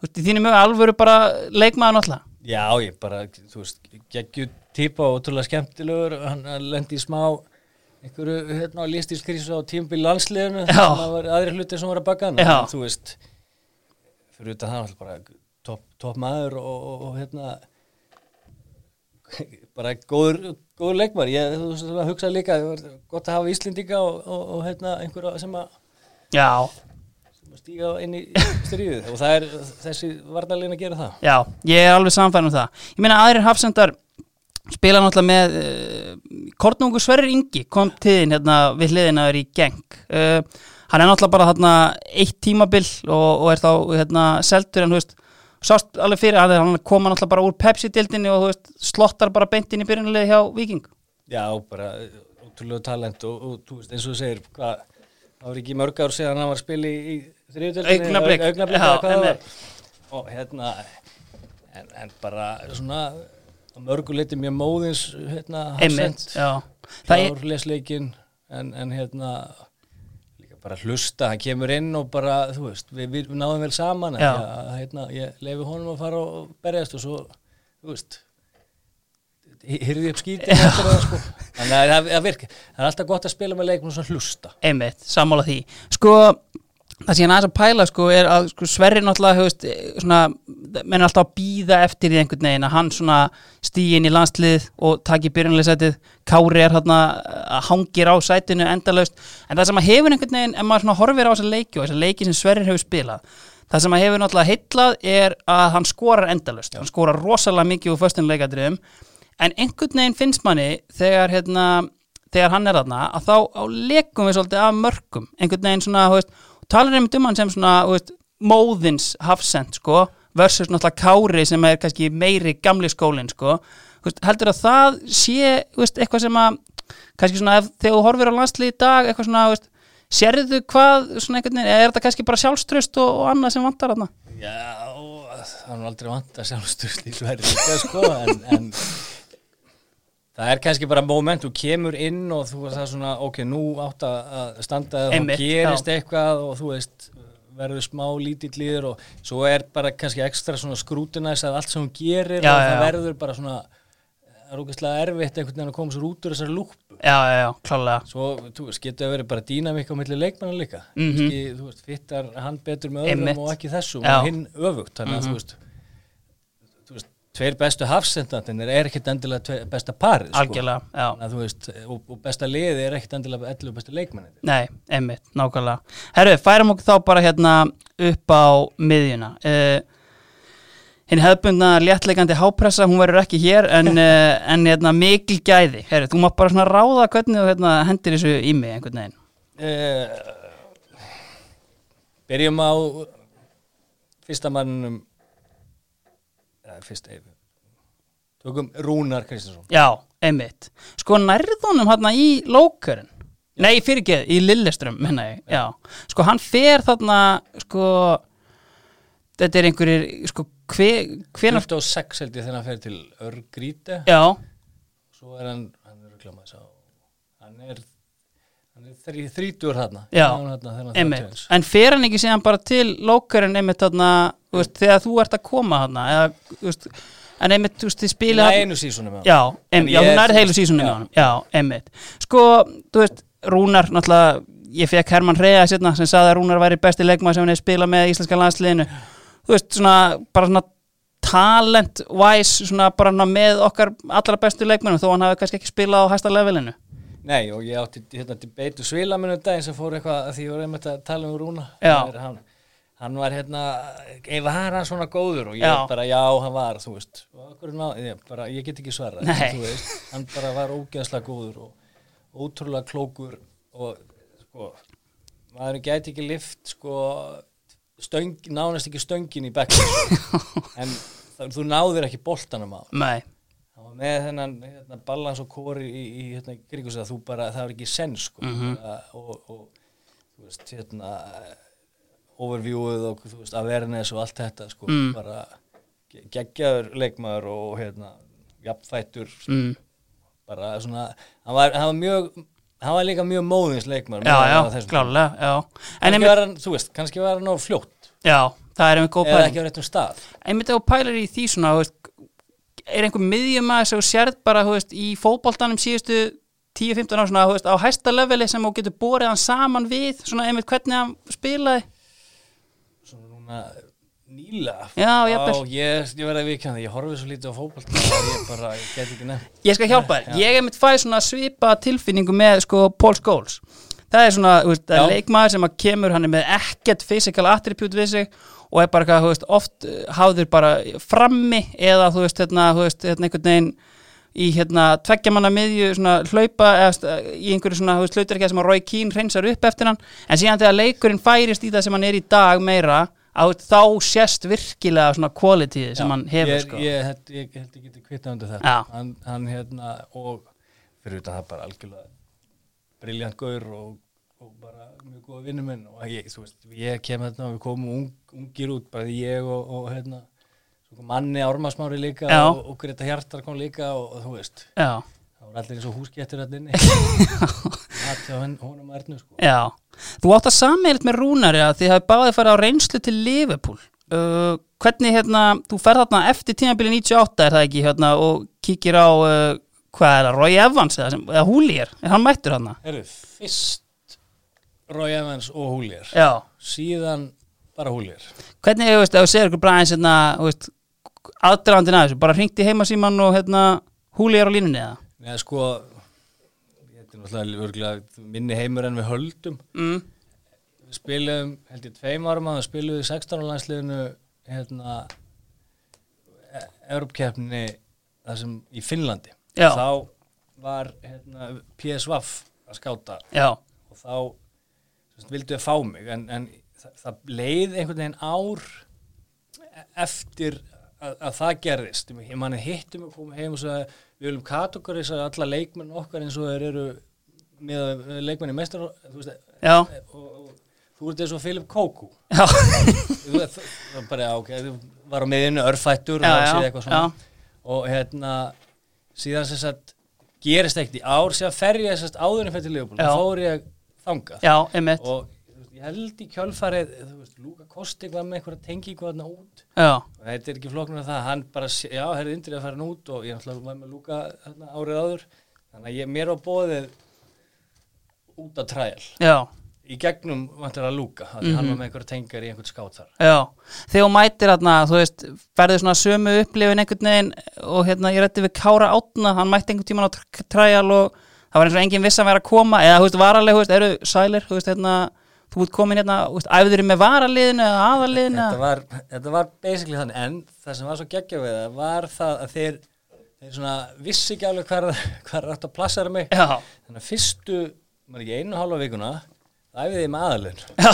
þú veist, í þínum mjög alvöru bara leikmaður náttúrulega
já, ég bara, þú veist, geggju típa og ótrúlega skemmtilegur hann, hann lendi í smá einhverju hérna á listískrísu á tímbil landsliðinu
Já.
það var aðri hluti sem var að baka hann
Já.
En þú veist fyrir utan það var bara topp top maður og, og, og hérna <laughs> bara góður, góður leikmar ég þú veist, hugsa líka, það var gott að hafa Íslendinga og, og, og hérna einhverja sem að
já,
sem að stíga inn í stríðið og það er þessi varnarlegin að gera það
Já, ég er alveg samfæðan um það. Ég meina aðrir hafsendar spila náttúrulega með uh, Kornungur Sverrir Ingi kom til þín hérna við hliðinaður í geng. Uh, hann er náttúrulega bara hérna eitt tímabil og, og er þá hérna seldur en þú veist, sást alveg fyrir hann, hann koma náttúrulega bara úr Pepsi-dildinni og þú veist, slottar bara beint inn í byrjunulegi hjá Viking.
Já, bara ótrúlega talent og, og þú veist, eins og þú segir hvað, það var ekki mörg ár síðan hann var að spila í, í þriðutöldinni
Augnablik.
augnablik
Já,
eða hvað það
einmitt.
var og hérna en, en bara svona að mörgu leiti mjög móðins hérna,
Einmitt,
hafsend,
já. Það er,
klárleisleikin en, en hérna líka bara hlusta, hann kemur inn og bara, þú veist, við, við náðum vel saman
Já.
að, að, hérna, ég leifi honum að fara og berjast og svo, þú veist hyrði upp skítið eftir það sko þannig að það, það virka, það er alltaf gott að spila með leikmenn og svona hlusta
einmitt, sammála því. Sko, það sem ég er aðeins að pæla sko er að sko, Sverri náttúrulega hefust, svona, menn er alltaf að býða eftir í einhvern veginn að hann svona stíi inn í landslið og taki byrjunlega sætið Kári er hérna að hangir á sætinu endalaust en það sem að hefur einhvern veginn en maður svona horfir á þessa leiki og þessa leiki sem Sverri hefur spilað það sem að hefur náttúrulega heitlað er að hann skorar endalaust hann skorar rosalega mikið úr föstum leikadriðum en einhvern veginn finnst manni þegar hérna þegar hann er þarna að þá á leikum við svolítið af mörgum einhvern veginn svona, þú veist, og talar einmitt um hann sem svona, þú veist, móðins hafsend, sko, versus náttúrulega Kári sem er kannski meiri gamli skólinn, sko, þú veist, heldur að það sé, þú veist, eitthvað sem að kannski svona, ef, þegar þú horfir á landslið í dag eitthvað svona, þú veist, sérðu hvað svona einhvern veginn, eða er þetta kannski bara sjálfströst og, og annað sem vantar þarna?
Já, það er aldrei vant að sjálfstöðsli sverri líka sko en, en það er kannski bara moment, þú kemur inn og þú er það svona, ok, nú átt að að standa eða
Einmitt,
þá gerist
já.
eitthvað og þú veist, verður smá lítill líður og svo er bara kannski ekstra svona skrútinæs að allt sem hún gerir
Já,
og
já,
það
já.
verður bara svona það er rúkastlega erfitt einhvern veginn að koma sér út úr þessar lúpu
Já, já, já, klálega.
Svo, þú veist, getur það verið bara dýnamík á milli leikmanna líka. Mm
Mhm.
þú veist, fittar hann betur með öðrum
Einmitt.
og ekki þessum
Já. Mhm.
og hinn öfugt. Þannig að, þú veist, þú veist, tveir bestu hafsendantinir er ekkit endilega tveir, besta parið, sko.
Algjörlega, já.
Þannig að, þú veist, og, og besta liði er ekkit endilega ellu besta leikmennir.
Nei, einmitt, nákvæmlega Herru, færum okkur þá bara hérna upp á miðjuna uh, Hinn hefðbundna léttleikandi hápressa, hún verður ekki hér en, uh, en hérna, mikil gæði Herru, þú mátt bara svona ráða hvernig þú hérna, hendir þessu í mig einhvern veginn
Uh, byrjum á fyrsta mannum, eða fyrst, eh, tökum Rúnar Kristinsson.
Já, einmitt Sko nærðunum hérna í lókurinn Nei, fyrirgeð, í Lilleström, menna ég Já, sko hann fer þarna sko þetta er einhverjir, sko hve, hvenar,
26 held ég þegar hann fer til Örgríte.
já
svo er hann, hann er örugglega maður sá, hann er hann er þrý, þrítur þarna
Já,
hann þarna þegar hann
einmitt,
31.
en fer hann ekki síðan bara til lókurinn einmitt þarna þú veist, þegar þú ert að koma þarna eða, þú veist, en einmitt, þú veist, þið spila
Nei, einu sísunum
já, einmitt, já, þú
Ég-
nærið heilu sísunum
Já.
já. já, einmitt, sko, þú veist Rúnar, náttúrulega, ég fekk Herman Reyða sérna sem sagði að Rúnar væri besti leikmaður sem hann hefði spilað með í íslenska landsliðinu þú veist, svona, bara svona talent-wise, svona bara svona með okkar allra bestu leikmennum þó hann hafi kannski ekki spilað á hæsta levelinu
Nei, og ég átti hérna til beitu svila minnum daginn sem fór eitthvað að því ég var einmitt að tala um Rúna
Já.
Það er hann, hann var hérna, ef var hann svona góður og ég
Já.
bara, já, hann var, þú veist og af hverju ná- ég, bara, ég get ekki svarað
Nei.
þú veist, hann bara var ógeðslega góður og ótrúlega klókur og sko maður gæti ekki lift sko stöng, nánast ekki stöngin í
<laughs>
bekkum en það, þú náðir ekki boltanum á
nei,
Það var með þennan hérna, balans og kóri í, í hérna, kringus að þú bara, það var ekki senn sko
Mhm.
bara, og, og þú veist, hérna overviewuð og þú veist, awareness og allt þetta sko,
Mm.
bara ge- geggjaður leikmaður og hérna jafnfættur, sko.
mm,
bara svona hann var, hann var mjög, hann var líka mjög móðins
já,
leikmaður meðan hann var
já,
þessum.
klálega já, en
kannski var hann, þú veist, kannski var hann á fljótt
Já, það er einhver góð
eða
pæling
ekki á réttum stað
Einmitt ef þú pælar í því svona þú veist, er einhver miðjumæður sem þú sérð bara þú veist, í fótboltanum síðustu 10-15 ára svona þú veist, á hæsta leveli sem þú getur borið hann saman við svona einmitt hvernig hann spilaði
svona núna nýla
Já, jafnvel.
ég, ég verði að vikja það, ég horfið svo lítið á fótbolt að ég bara, ég get ekki nefnt
Ég skal hjálpa þér, ég einmitt fæ svona svipa tilfinningu með sko Paul Scholes Það er svona, þú veist, það er
Já.
leikmaður sem að kemur hann er með ekkert physical attribute við sig og er bara, hvað, þú veist, oft eh, háður bara frammi eða, þú veist, hérna, þú veist, hérna einhvern veginn í hérna tveggjamanna miðju svona hlaupa eða st- í einhverju svona þú veist, hlautarkjað sem að Roy Keane hreinsar upp eftir hann en síðan þegar leikurinn færist í það sem hann er í dag meira á, þá sést virkilega svona quality sem hann hefur
ég,
sko
ég, held- ég, ég held ég geti kvitað undir það
Já.
hann, hann hérna og fyrir utan það bara algjörlega briljant gaur og, og bara mjög góða vinnum minn og ég, þú veist, ég kem hérna og við komum ung, ungir út, bara ég og, og hérna, svo kom manni Ármasmári líka
Já.
og, og Greta Hjartar kom líka og, og þú veist,
Já.
það voru allir eins og húsgettur allir inni
<laughs>
hatt hjá henn, honum að ernu sko
Já, þú átt að sameilt með Rúnari að þið hafi báðið farið á reynslu til Liverpool uh, hvernig hérna, þú ferð þarna eftir tímabili 98 er það ekki hérna og kíkir á uh, hvað er það, Roy Evans eða, sem, eða Húlíer, er hann mættur þarna
Herru, fyrst Roy Evans og Húlir
Já,
síðan bara Húlir
hvernig, þú veist, ef þú segir ykkur bara eins hérna, þú veist, aðdragandinn að þessu, bara hringt í heimasíman og hérna, húli er á línunni eða?
eða sko þetta er náttúrulega örugglega minni heimur en við höldum
Mm.
við spilum held ég tveim árum að við spilum við 16 landsliðinu hérna e- Evrópkeppni þar sem í Finnlandi
Já.
þá var hérna, PSVAF að skáta
Já,
og þá sérst, vildu þau fá mig en, en það, það leið einhvern veginn ár e- eftir að, að það gerðist ég manni hittum að koma heim og sagði við viljum kat okkur þess að alla leikmenn okkar eins og þeir eru með eh, leikmenn í mestar þú veist, eh,
já,
og, og þú ert eins og Filip Kókú
já, <laughs>
Þú veist, það var bara, já, ok, þú var á miðinu örfættur
Já,
og
já,
séð eitthvað svona og hérna, síðan sem sagt gerist ekkert í ár, síðan fer ég sem sagt áðurinn fyrir til Leopold,
Já.
þá fór ég þangað
já, einmitt,
og þú veist, ég held í kjölfarið, þú veist, Lúka Kosti var með einhverja tengingu þarna út
já,
og þetta er ekki flokknur að það, hann bara, sé- já, herrið indrið að fara hann út og ég náttúrulega var með Lúka þarna, árið áður, þannig að ég, mér var bóðið út að træl
já,
í gegnum vantar að Lúka, þannig að hann
Mhm.
var með einhverja tengar í einhvern skát þar
já. Þegar þú mætir hérna, þú veist, ferðu svona sömu upplifin einhvern veginn og hérna, ég rætti við Kára Átna, hann mætti einhvern tíman á tr- trial og það var eins og enginn viss að vera að koma, eða, þú veist, varaleg, þú veist, eru sælir, þú veist, hérna, þú ert komin hérna, þú veist, æfður með varaliðinu eða aðaliðinu,
þetta var, þetta var basically þannig en það sem var svo geggja við það var það að þeir, þeir svona vissi ekki alveg <laughs> hvað er átt að plassara mig
já,
þannig að fyrstu, maður ekki einu og hálfa vikuna æfið ég með aðalinn
já,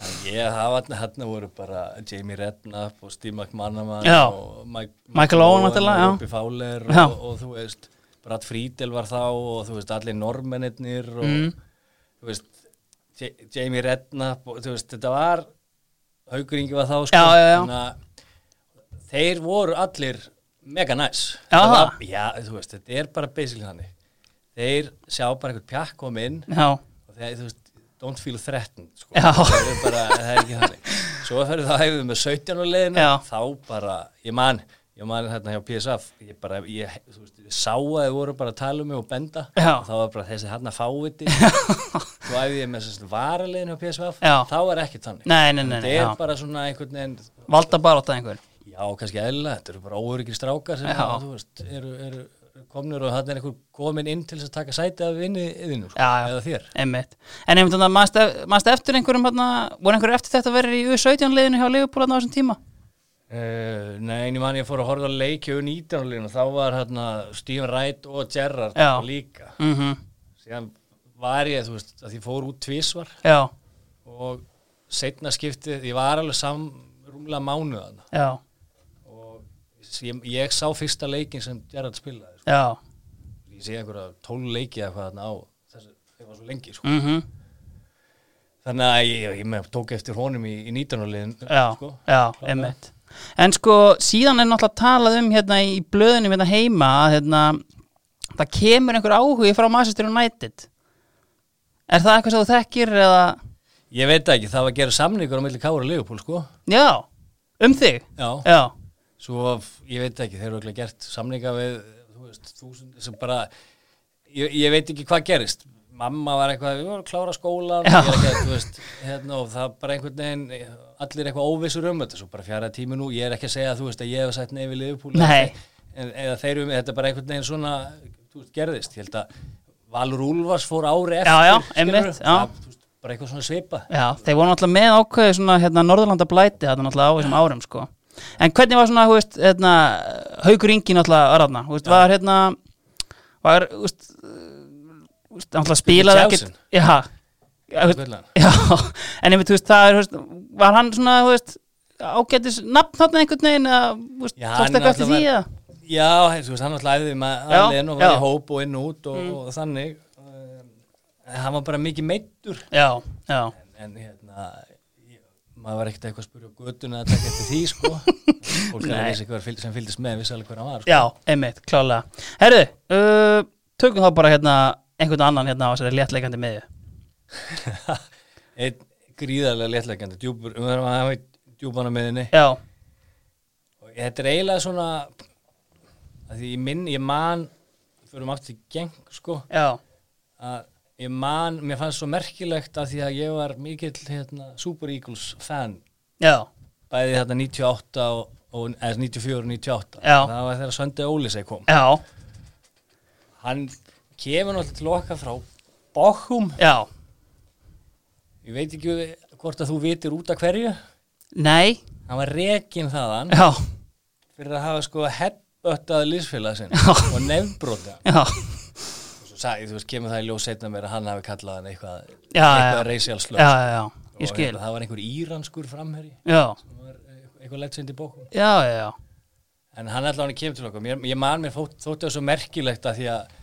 Þannig að ég hafa þarna þarna voru bara Jamie Redknapp og Steve McManaman
Já.
og Mike,
Michael Owen náttúrulega, já.
og Robbie Fowler
Já.
og, og þú veist Brad Friedel var þá og þú veist allir normennir og
Mm.
þú veist Ja- Jamie Redknapp og þú veist þetta var Haukur Ingi var þá sko
Já, já, já.
þannig að þeir voru allir mega næs
Já,
Það var-
það.
já, þú veist, þetta er bara basically þannig þeir sjá bara einhvern pjakk kom inn
já,
og þegar þú veist, don't feel threatened sko.
Já.
það er bara, það er ekki þannig svo fyrir það hefur með 17 á leiðinu
Já.
þá bara, ég man ég man hérna hjá PSF ég bara, ég, þú veist, ég sá að þið voru bara að tala um mig og benda
Já.
og þá var bara þessi hérna fáviti svo æfði ég með sérst varaleginu hjá PSF
Já.
þá er ekki þannig
Nei, nei, nei, nei,
þetta er
já.
bara svona einhvern veginn
valda bara átta einhver,
já, kannski eðla, þetta eru bara óöryggir strákar sem
Já.
að, þú veist, eru, eru komnir og þannig er einhver komin inn til þess að taka sæti af vinni yðinu, sko,
Já, já.
eða þér
einmitt, en einmitt þannig að mannst ef- mannst eftir einhverjum, hérna, voru einhverjum eftir þetta að vera í U17 liðinu hjá Liverpool hérna á þessum tíma?
Uh, nei, en ég man ég fór að horfa að leikja um 19 línu og þá var hérna Stephen Wright og Gerrard
Já.
líka
Mm
síðan var ég, þú veist, að ég fór út tvísvar
Já,
og setna skiptið, ég var alveg samrúmlega mánuðan
já,
og ég, ég sá fyrsta leikin sem Gerrard spilaði,
já,
sko. ég sé einhverja tól leiki eða hvað þarna á þessu, það var svo lengi, sko
mhm,
þannig að ég, ég, ég tók eftir honum í, í 19 liðin,
já,
sko
já, einmitt. En sko, síðan er náttúrulega talað um hérna í blöðunum hérna heima að hérna, það kemur einhver áhugi frá Manchester United. Er það eitthvað sem þú þekkir eða,
ég veit það ekki, það var að gera samningur á milli Kára og Leopold, sko
já, um þig?
Já.
Já,
Svo, f- ég veit ekki, þeir eru ekki gert samninga við, þú veist, þúsund, sem bara, ég, ég veit ekki hvað gerist. Mamma var eitthvað, við vorum að klára skólan,
Já.
ég er ekki, að, þú veist, hérna, og það bara einhvern veginn, allir eitthvað óvissur um þetta, svo bara fjara tími nú, ég er ekki að segja, þú veist, að ég hef sagt neyfi liðupúli.
Nei.
En, eða þeir eru með, þetta er bara einhvern veginn svona, þú veist, gerðist, ég held að Valur Úlfars fór ári eftir,
Já, já,
skilurðu,
einmitt, já.
það, þú veist, bara eitthvað svona svipa.
já, þeir voru náttúrulega með ákveði svona hérna Norðurlanda blæti þetta náttúrulega á þessum árum sko. En hvernig var svona, hú veist, hérna, haugur yngi náttúrulega var hérna, hú veist, var hérna, var, hú veist, hú veist, náttúrulega spilaði
Johnson.
ekkert, já, já, þú veist,
Hvernig hann?
Já, en einmitt, þú veist, það er, þú veist, var hann svona, þú veist, ágætis nafn þarna einhvern veginn, eða, þú veist,
Já,
tókst
hann
eitthvað eftir því,
náttúrulega
eða?
Já, hef, þú veist, hann um var hlæðið með
Já,
aðlinn og var
já. Mm.
í hóp og inn og út og, og þannig Eh, hann var bara mikið meittur
Já, já,
en, en hérna ég, maður var ekkert eitthvað að spyrja á göttuna að taka eftir því,
<laughs>
sko fólk er að
Nei.
vissi hver fylg, sem fylgdist með, vissi alveg hver hann var sko.
já, einmitt, klálega. Herru, uh, tökum þá bara hérna einhvern annan hérna á þessari léttleikandi miðju.
sko. <laughs> einn gríðarlega léttlegjandi djúpur, um það var djúpana meðinni
Já,
og þetta er eiginlega svona að því ég minn, ég man fyrir um aftur í geng, sko
já,
að ég man, mér fannst svo merkilegt að því að ég var mikill hérna, Super Eagles fan
já,
bæði þetta 98 og, og eða 94 og 98
Já.
það var þegar Söndi Ólisei kom
já,
hann kemur náttúrulega til okkar frá Bochum
já
ég veit ekki hvort að þú vitir út af hverju
nei,
hann var rekin þaðan
já,
fyrir að hafa sko headbuttað liðsfélag sinn
Já.
og nefnbrota
já
svo sagði, þú veist, kemur það í ljós setna mér að hann hafi kallað hann eitthvað
Já,
eitthvað
já.
reisjálslöf
já, já, já, ég skil
hérna, það var einhver íranskur framherji
já,
sem var eh, eitthvað legend í bókum
já, já, já
en hann allan kemur til okkur ég, ég man mér fótt, þótti það svo merkilegt að því að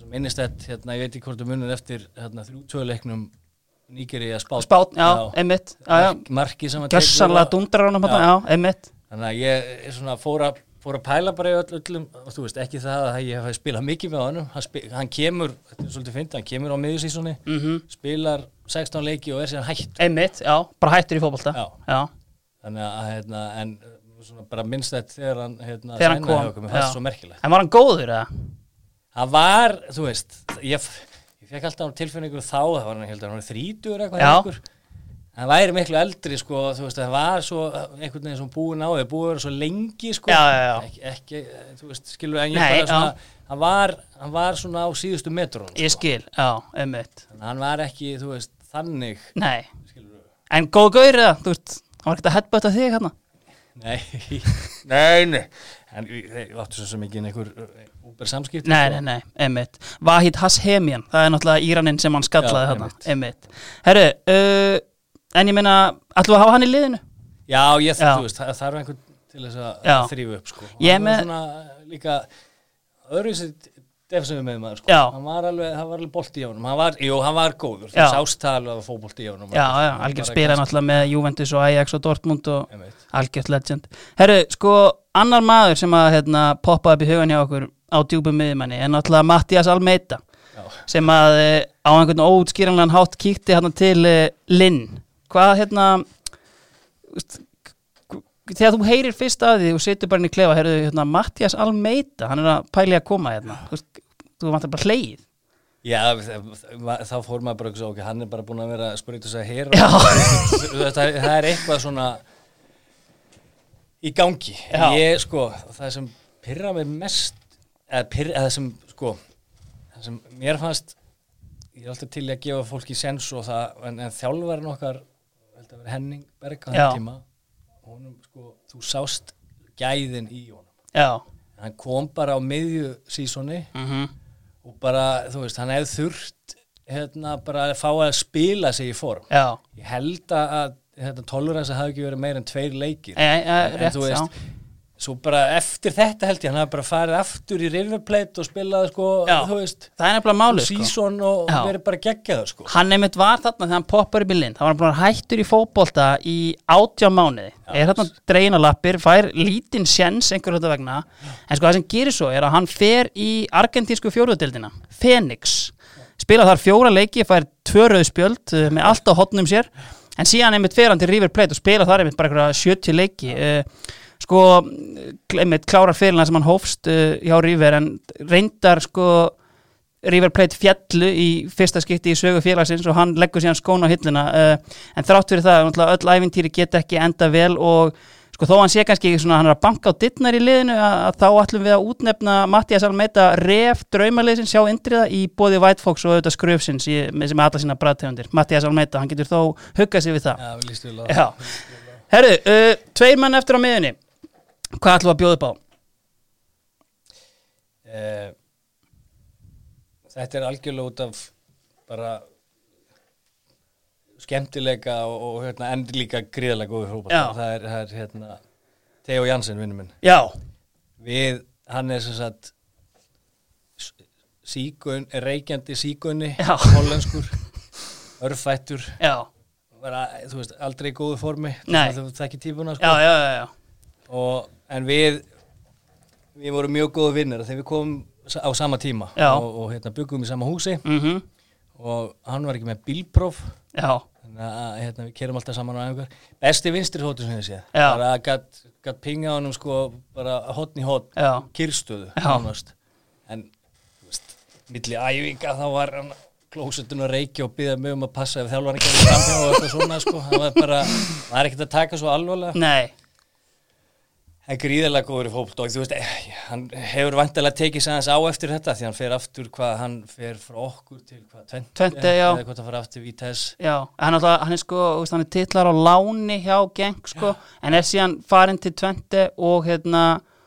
svo minnist þetta, hérna, ég veit ekki hvort þú munir eftir hérna, þrjútöðuleiknum Nígeri að spátt
spát, já, einmitt já, já,
marki sem hann tekur
gessanlega
og-
dundrar honum
Já.
já. já, einmitt
þannig að ég er svona fór að fór að pæla bara í öll, öllum og þú veist ekki það að ég hef spilað mikið með honum hann, spil, hann kemur, þetta er svolítið fyndið, hann kemur á miðjusísunni,
mm
spilar 16 leiki og er síðan hætt
einmitt, já, bara hættur í fótbolta
Já.
já,
þannig að hérna, en uh, svona bara minnst þetta þegar hann hérna,
Þegar hann
signaði
kom,
hjá okkur, mér fannst
já.
svo merkilegt
en var hann góður eða?
hann var, þú veist ég, f- ég fekk alltaf á tilfinningu þá það var hann, ég held að hann var þrítur eitthvað
Já.
einhver. hann væri miklu eldri sko, þú veist, það var svo einhvern veginn sem búin á þau, búin að vera svo lengi sko,
Já, já, já.
Ekki, ekki, þú veist, skilur en ég
Nei,
bara svona, hann var, hann var svona á síðustu metrun
ég skil, já, einmitt
hann var ekki, þú veist, þannig
nei,
skilur
en góð gaur eða, þú veist hann var ekkert að headbutta þig hérna
Nei, nei, nei En þeir áttu svo sem ekki einhver úber samskipti
Nei, nei, nei, einmitt Vahid Hashemian, það er náttúrulega Íranin sem hann skallaði
Já,
hérna, einmitt Herru, uh, en ég meina ætlum við að hafa hann í liðinu?
Já, ég
Já.
þú veist, það þarf einhvern til þess að
Já.
þrýfa upp sko
Ég
Hann var
með-
svona líka öðruvísi defsum við með maður sko
Já.
Hann var alveg, hann var alveg bolti í honum Hann var, jú, hann var góður
Já.
Það sást það alveg að það fór bolti í honum
Já, já, algjör spila náttúrulega með Juventus og Ajax og Dortmund og algjört legend Herru, sko, annar maður sem að hérna, poppa upp í hugan hjá okkur á djúpum miðjumanni er náttúrulega Mattias Almeida sem að eh, á einhvern óutskýranlegan hátt kíkti hérna til eh, Linn hvað hérna úst, k- þegar þú heyrir fyrst að því og situr bara inn í klefa herru, hérna, Mattias Almeida, hann er að pæli að koma hérna þú, veist, þú vantar bara hleið
Já, það- þá fór maður bara okkur, hann er bara búin að vera að spurita sig að heyra
Já.
það, það er eitthvað svona í gangi
Já.
ég sko, það sem pyrra mig mest eða, pyrra, eða það sem sko það sem mér fannst ég er alltaf til í að gefa fólki sens og það, en, en þjálfarinn okkar ég held að vera Henning Berg á
Já.
þeim tíma honum sko, þú sást gæðin í honum
já,
hann kom bara á miðju sísoni
mm
og bara, þú veist, hann hefði þurft hérna, bara að fá að spila sig í form.
já
Ég held að hérna, toleransi hafi ekki verið meira en tveir leikir.
e, e, rétt,
þú
já,
veist, svo bara eftir þetta held ég, hann hafi bara farið aftur í River Plate og spilað, sko,
Já.
þú veist,
það er nefnilega málið sko.
season og
Já.
verið bara geggjaður, sko.
hann einmitt var þarna þegar hann poppar upp í lind það var hann búin að vera hættur í fótbolta í átjá mánuði er þarna dreina lappir, fær lítinn sjens einhver þetta vegna, en sko það sem gerir svo er að hann fer í argentísku fjóruðdeldina Fenix spila þar fjóra leiki, fær tvö rauð spjöld eh, með allt á hotnum sér en síðan einmitt fer hann til River Plate og spila þar einmitt bara einhverja 70 leiki Eh, sko, eh, einmitt klárar fyrirna sem hann hófst eh, hjá River en reyndar sko River Plate fjallu í fyrsta skipti í sögu félagsins og hann leggur síðan skóna á hilluna uh, en þrátt fyrir það, náttúrulega öll æfintýri geta ekki enda vel og sko þó hann sé kannski ekki svona, hann er að banka á dittnar í liðinu að, að þá ætlum við að útnefna Mattias Almeida ref draumaliðsins sjá indriða í bóði White Fox og auðvitað skröfsins í, með sem alla sína bræðtegundir Mattias Almeida, hann getur þó huggað sig við það
Já, við lístum við
Já, herru, uh, tveir menn eftir á miðunni hvað ætlum við að bjóða upp á?
Eh, þetta er algjörlega út af bara skemmtileika og, og hérna, en líka gríðalega góður fótbolta
Já.
það er, það er hérna Theo Jansen vinnum minn
Já,
við, hann er sem sagt s- sígun, reykjandi sígunni
Já.
hollenskur örfættur
já,
bara, þú veist, aldrei í góðu formi
Nei.
þú þekki tífuna
já,
sko.
já, já, já.
og, en við við vorum mjög góðu vinnir þegar við komum sa- á sama tíma
Já.
og, og hérna, byggum í sama húsi
Mm
og hann var ekki með bílpróf
já.
þannig að hérna, við kerum alltaf saman á einhver besti vinstri hóttur sem ég sé
Já.
bara gatt gat pinga honum sko bara hotn í hotn,
Já.
kyrstöðu
Já.
nánast. en þú veist, milli æfinga þá var hann klósutinu að reykja og býða mig um að passa ef þjálfari gerði framhjá og eitthvað svona sko. það var bara, það er ekkert að taka svo alvarlega
Nei,
hann er gríðarlega góður í fótbolt og þú veist, eh, hann hefur vantilega tekið sig aðeins á eftir þetta því hann fer aftur hvað, hann fer frá okkur til hvað, tvent,
Twente, já.
eða hvað það fer aftur í tess
já, hann, alltaf, hann er sko þú veist, hann er titlar á láni hjá geng sko, en er síðan farin til 20 og hérna,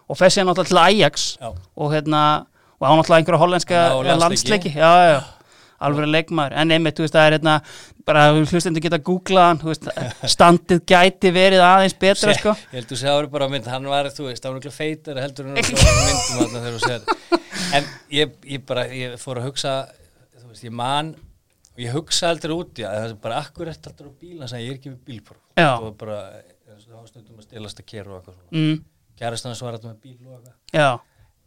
og fer síðan alltaf til Ajax
Já.
og hérna, og án alltaf einhverja hollenska
Já, og landsleiki.
landsleiki, já, já alveg leikmaður, en einmitt, þú veist, það er hérna bara hlustendur geta googlað hann þú veist, standið gæti verið aðeins betra sko,
Ég held að það voru bara mynd, hann var, þú veist, hann var ekki feitar
<laughs>
heldur en hann var á myndum þarna þegar þú segir En ég, ég bara, ég fór að hugsa, þú veist, ég man og ég hugsa aldrei út í að það er bara akkur eftir aldrei á bílan sem ég er ekki við bílpróf
Já.
Og bara, það var stundum að stelast að kera og eitthvað svona
mm,
Kærastan hans var alltaf með bíl og eitthvað
já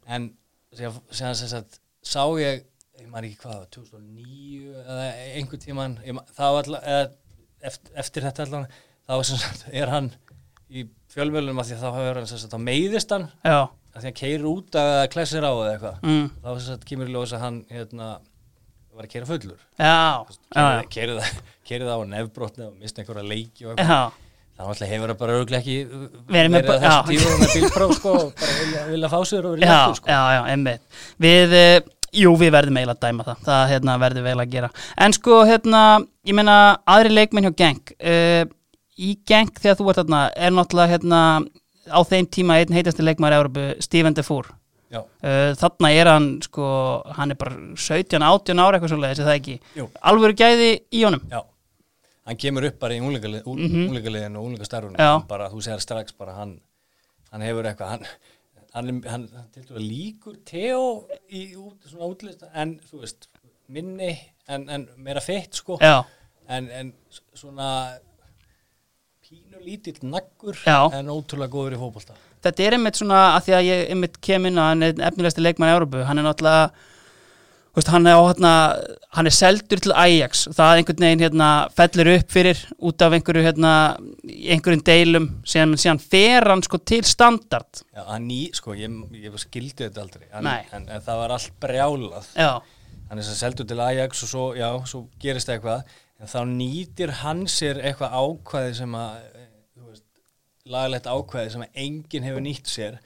En síðan, síðan sem sagt, sá ég, ég maður ekki hvað, 2009 eða einhver tíman, ég, man- það var alltaf, eða eftir, eftir þetta allan, þá var sem sagt, er hann í fjölmjölunum að því að þá hefur hann sem sagt, þá meiðist hann,
já,
að því hann keirir út að klessir á eða eitthvað.
mm,
Þá sem sagt, kemur í ljós að hann, hérna, var að keira fullur.
já, já,
Keirið það á nefbrotni og misti einhverja leiki og eitthvað.
já,
Það náttúrulega hefur það bara örglega ekki
Verið með
að
bara-
þessu
já.
tíma með bílpróf sko og bara vilja, vilja fá sér og
já,
vilja
já, já, já, einmitt. Við, eh, jú, við verðum eiginlega að dæma það, það hérna, verðum við eiginlega að gera. En sko, hérna, ég meina, aðri leikmenn hjá Genk, uh, í Genk þegar þú ert þarna, er náttúrulega, hérna, á þeim tíma einn heitasti leikmæri Európu, Steven Defour.
Já.
Uh, þarna er hann, sko, hann er bara 17, 18 ára eitthvað svoleiðis, er það ekki?
Jú.
Alvöru gæði í honum?
Já, hann kemur upp bara í unglingaliðin og unglingastarfunum
Mhm. Já.
Hann bara, þú segir strax bara hann, hann hefur eitthvað hann, hann, er- hann, hann til dæmis líkur Teo í út, svona útlist en þú veist, minni en, en meira feitt sko
Já.
en, en s- svona pínu lítill naggur
Já.
en ótrúlega góður í fótbolta
þetta er einmitt svona að því að ég einmitt kem inn að hann er efnilegsti leikmann í Európu, hann er náttúrulega þú veist, hann, er á, hérna, hann er seldur til Ajax það einhvern veginn hérna, fellur upp fyrir út af einhverju hérna, einhverjum deilum síðan, síðan fer hann sko til standard
Já, hann ný, sko, ég, ég skildi þetta aldrei en,
Nei.
en, en það var allt brjálað
já,
hann er sem seldur til Ajax og svo, já, svo gerist eitthvað en þá nýtir hann sér eitthvað ákvæði sem að eh, þú veist, lagalegt ákvæði sem að enginn hefur nýtt sér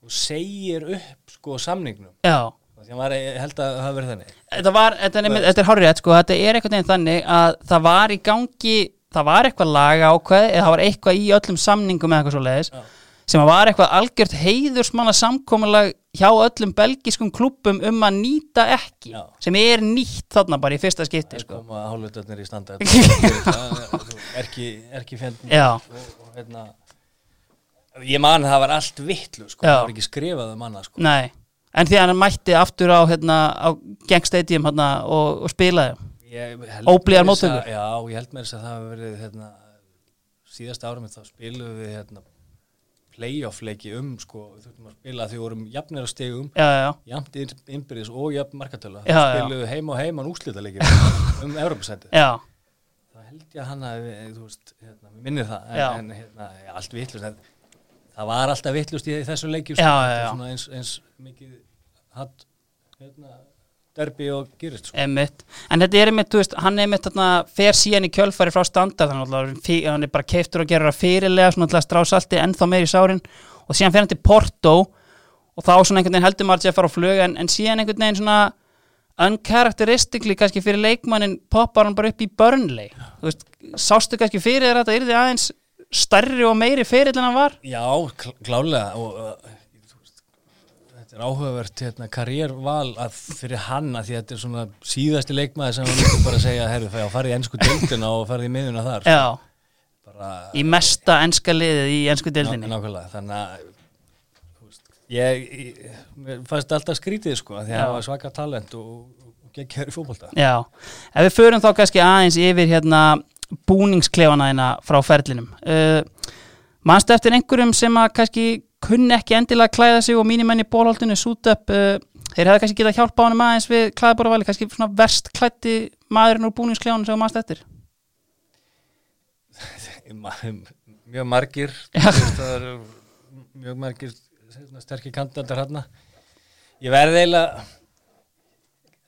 og segir upp sko samningnum
já
því að maður ég held að það hafi verið þannig
þetta var, þetta er, einmitt, þetta er hárið sko, þetta er einhvern veginn þannig að það var í gangi það var eitthvað laga ákveð eða það var eitthvað í öllum samningum eða eitthvað svo leiðis
Já.
sem að var eitthvað algjört heiðursmanna samkomulag hjá öllum belgiskum klubbum um að nýta ekki
Já.
sem er nýtt þarna bara í fyrsta skipti
það
sko.
koma hálfutöðnir
<laughs>
í standa er ekki, er ekki fjendin
Já.
og, og hérna ég man að það var allt vitlu sko,
Já.
það var ekki skrifað um annað sko
Nei, en því að hann mætti aftur á, hérna, á Gang Stadium hérna, og, og spilaði
Ég held
Óblíðar
meira að segja-
móttökur.
Já, ég held með þess að það hafi verið hérna, síðasta árum þá spilum við hérna, playoff leiki um sko, við þurftum að spila því við vorum jafnir á stegum
Já, já, já.
jafnt inn- innbyrðis og jafn markatölu
Já, já.
spilum við heima og heiman úslita leiki <laughs> um Evropasætið
já.
það held ég að hann að þú veist, hérna, mig minnir það
Já.
en, en hérna, já, allt vitlust en, það var alltaf vitlust í þessu leiki
Já, já,
sko, þetta er
já.
svona eins, eins mikið hatt hérna, derbi og gerist sko.
Einmitt. En þetta er einmitt, þú veist, hann er einmitt þarna, fer síðan í kjölfari frá standard hann, alltaf, fí- hann er bara keiftur og gerur að fyrirlega svona alltaf strásalti ennþá meir í sárin og síðan fer hann til Porto og þá svona einhvern veginn heldur maður sér að fara á flug en, en síðan einhvern veginn svona uncharacteristically kannski fyrir leikmannin poppar hann bara upp í Burnley þú veist, sástu kannski fyrir þér að þetta yrði aðeins stærri og meiri fyrir en hann var
Já, kl- klálega og uh, þú veist, þetta er áhugavert hérna, karriérval að fyrir hann að því þetta er svona síðasti leikmaði sem hann myndi bara að segja herru, fæ- farið í ennsku deildina og farið í miðuna þar
Já,
bara,
í mesta enska liðið í ensku
ná-
deildinni
nákvæmlega, þannig að þú veist, ég, ég mér fannst alltaf skrítið sko, af því
Já.
að hann var svaka talent og, og, og gekk hér í fótbolta
Já, ef við förum þá kannski aðeins yfir hérna búningsklefana hérna frá ferlinum uh, Manstu eftir einhverjum sem að kannski kunni ekki endilega að klæða sig og mínimenn í bólholdinu sút upp uh, þeir hefði kannski getað hjálpa honum aðeins við klæðbóravali kannski svona verst klætti maðurinn úr búningsklefanum sem þú manstu eftir
Ma- mjög margir þú veist, það eru mjög margir sterkir kandidatar hérna ég verði eiginlega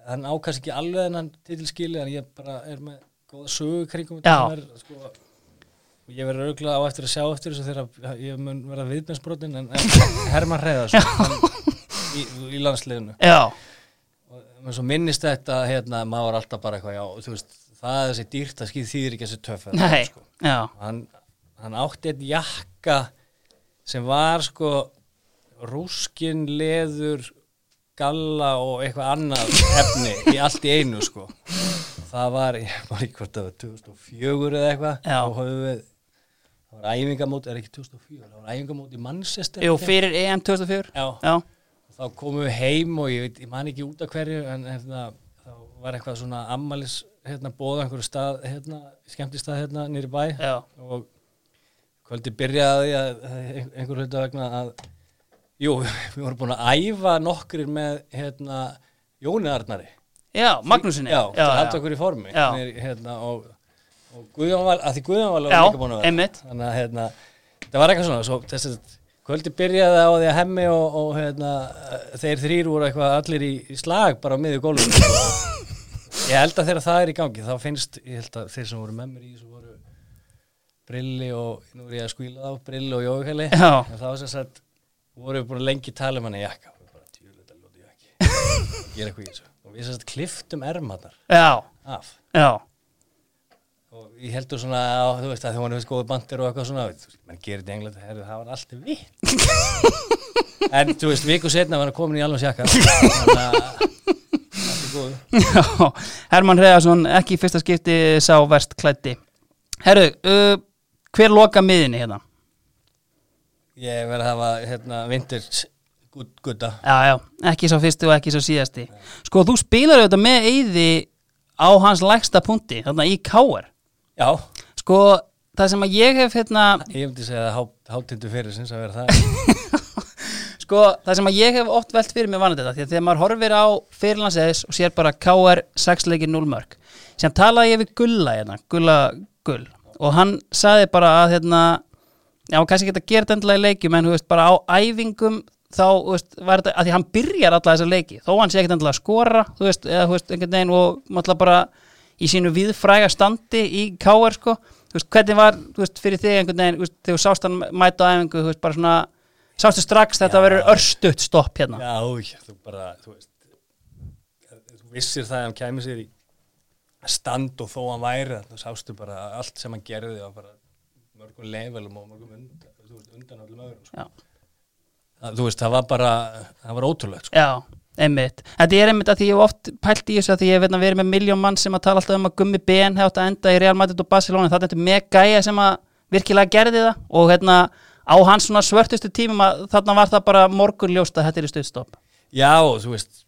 hann ákast ekki alveg en hann titilskili en ég bara er með góða sögu kringum
Já.
þetta sem er, sko, ég verður auðvitað á eftir að sjá eftir þessu þegar ég mun verða viðbjörnsbrotin en, en Herman Hreiðarsson í, í landsliðinu
Já,
og maður svo minnist þetta hérna, maður var alltaf bara eitthvað já, þú veist, það er þessi dýrt það skýð þýðir ekki þessi töff eða
nei,
eitthvað, sko.
já,
hann, hann átti einn jakka sem var sko rúskin, leður galla og eitthvað annað efni í allt í einu sko það var, ég var í hvort það var 2004 eða eitthvað
Já.
þá höfum við það var æfingamót, er ekki 2004 það var æfingamót í Manchester
jú, fyrir EM 2004
Já,
Já,
þá komum við heim og ég, veit, ég man ekki út af hverju en hérna, þá var eitthvað svona ammalis hérna bóða einhverju stað hérna, skemmtistað hérna nýri bæ
já,
og kvöldi byrjaði að, að einhver hluta vegna að jú, við vorum búin að æfa nokkrir með hérna, Jóni Arnari
já, Magnúsinni
já, til að
já,
halda okkur í formi
Já.
Nýr- hérna, og, og Guðjón var að því Guðjón var
Já,
líka búin að vera
einmitt.
þannig að hérna, það var eitthvað svona svo, þess að kvöldi byrjaði á því að hemmi og, og hérna, þeir þrýr voru eitthvað allir í, í slag bara á miðju gólfum ég held að þegar það er í gangi þá finnst, ég held að þeir sem voru með mér í þessu voru Brilli og, nú er ég að skvíla þá Brilli og Jóhjali en
Já.
það var sem sagt, voru við búin að lengi tala um hann í jakka og bara tjúlega lóti jakki gera eitthvað í þessu og við sem sagt kliftum ermarnar
já,
af
já,
og ég heldur svona á, þú veist að þau voru veist góðu bandir og eitthvað svona þú veist, menn gerir þetta í Englandi, herri, það var alltaf vitt en þú veist, viku setna var hann komin í alveg sjakka þannig að allt er góðu
já Herman Hreðarsson, ekki í fyrsta skipti sá verst klætti Herru, uh, hver loka miðinni hérna?
ég verði að hafa hérna, vintage gud- gudda
Já, já, ekki sá fyrsti og ekki sá síðasti Sko, þú spilar auðvitað með eyði á hans lægsta punkti, þarna í Káar
já,
Sko, það sem að ég hef hérna
ég myndi segja að hátindu fyrir sinns að vera það
Sko, það sem að ég hef oft velt fyrir mig vanandi þetta, því að þegar maður horfir á fyrirlandseðis og sér bara KR 6 leikir 0 mörg, sem talaði ég við Gulla hérna, Gulla Gull og hann sagði bara að hérna já, kannski geta gert endilega í leikjum en þú veist, bara á æfingum þá, þú veist, var þetta, að því hann byrjar alla þessa leiki, þó hann sé ekkert endilega að skora þú veist, eða, þú veist, einhvern veginn og maður bara í sínu viðfræga standi í KR, sko, þú veist, hvernig var þú veist, fyrir þig einhvern veginn, þú veist, þegar þú sást hann mæta á æfingu, þú veist, bara svona sástu strax þetta verður örstutt stopp hérna
já, þú bara, þú veist þú vissir það að hann kæmi sér í stand og þó hann væri þarna, þú sástu bara að allt sem hann gerði var bara mörgum levelum og mörgum undan, þú veist, undan öllum öðrum sko.
já,
það, þú veist, það var bara, það var ótrúlegt sko.
já einmitt, þetta er einmitt að því ég hef oft pælt í þessu að því ég hef hérna, verið með miljón mann sem að tala alltaf um að gummi BN hefði átt að enda í Real Madrid og Barcelona, þetta er með gæja sem að virkilega gerði það og hérna á hans svona svörtustu tímum að þarna var það bara morgunljóst að þetta er stutt stopp
já, og þú veist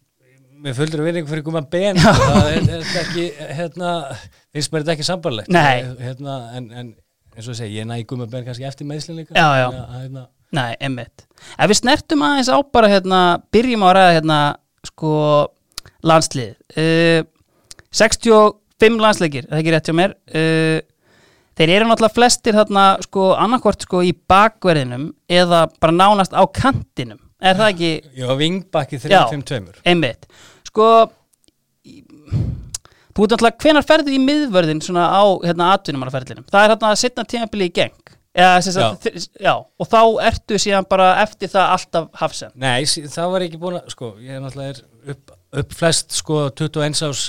með fullur vinningu fyrir Guma Ben sko, það er, er þetta ekki, hérna finnst mér þetta ekki sambarlegt
Nei.
hérna, en, en eins og ég segi, ég næ Guma Ben kannski eftir meðslinn líka
Já, já.
Þannig að, hérna,
Nei, einmitt. Ef við snertum aðeins á bara hérna, byrjum á að ræða hérna, sko, landslið. Uh, 65 landsleikir, er það ekki rétt hjá mér. Uh, þeir eru náttúrulega flestir þarna, sko, annarkvort, sko, í bakverðinum eða bara nánast á kantinum. Er það ekki,
ég var vingbakki 352
einmitt. Sko, í- þú veit náttúrulega, hvenar ferðu í miðvörðin svona á, hérna, atvinnumannarferðlinum? Það er hérna að setna tímabili í geng. Eða, sem sagt, já. já, og þá ertu síðan bara eftir það alltaf hafsend.
Nei, sí- það var ég ekki búin að, sko, ég er náttúrulega er upp, upp flest, sko, 21 árs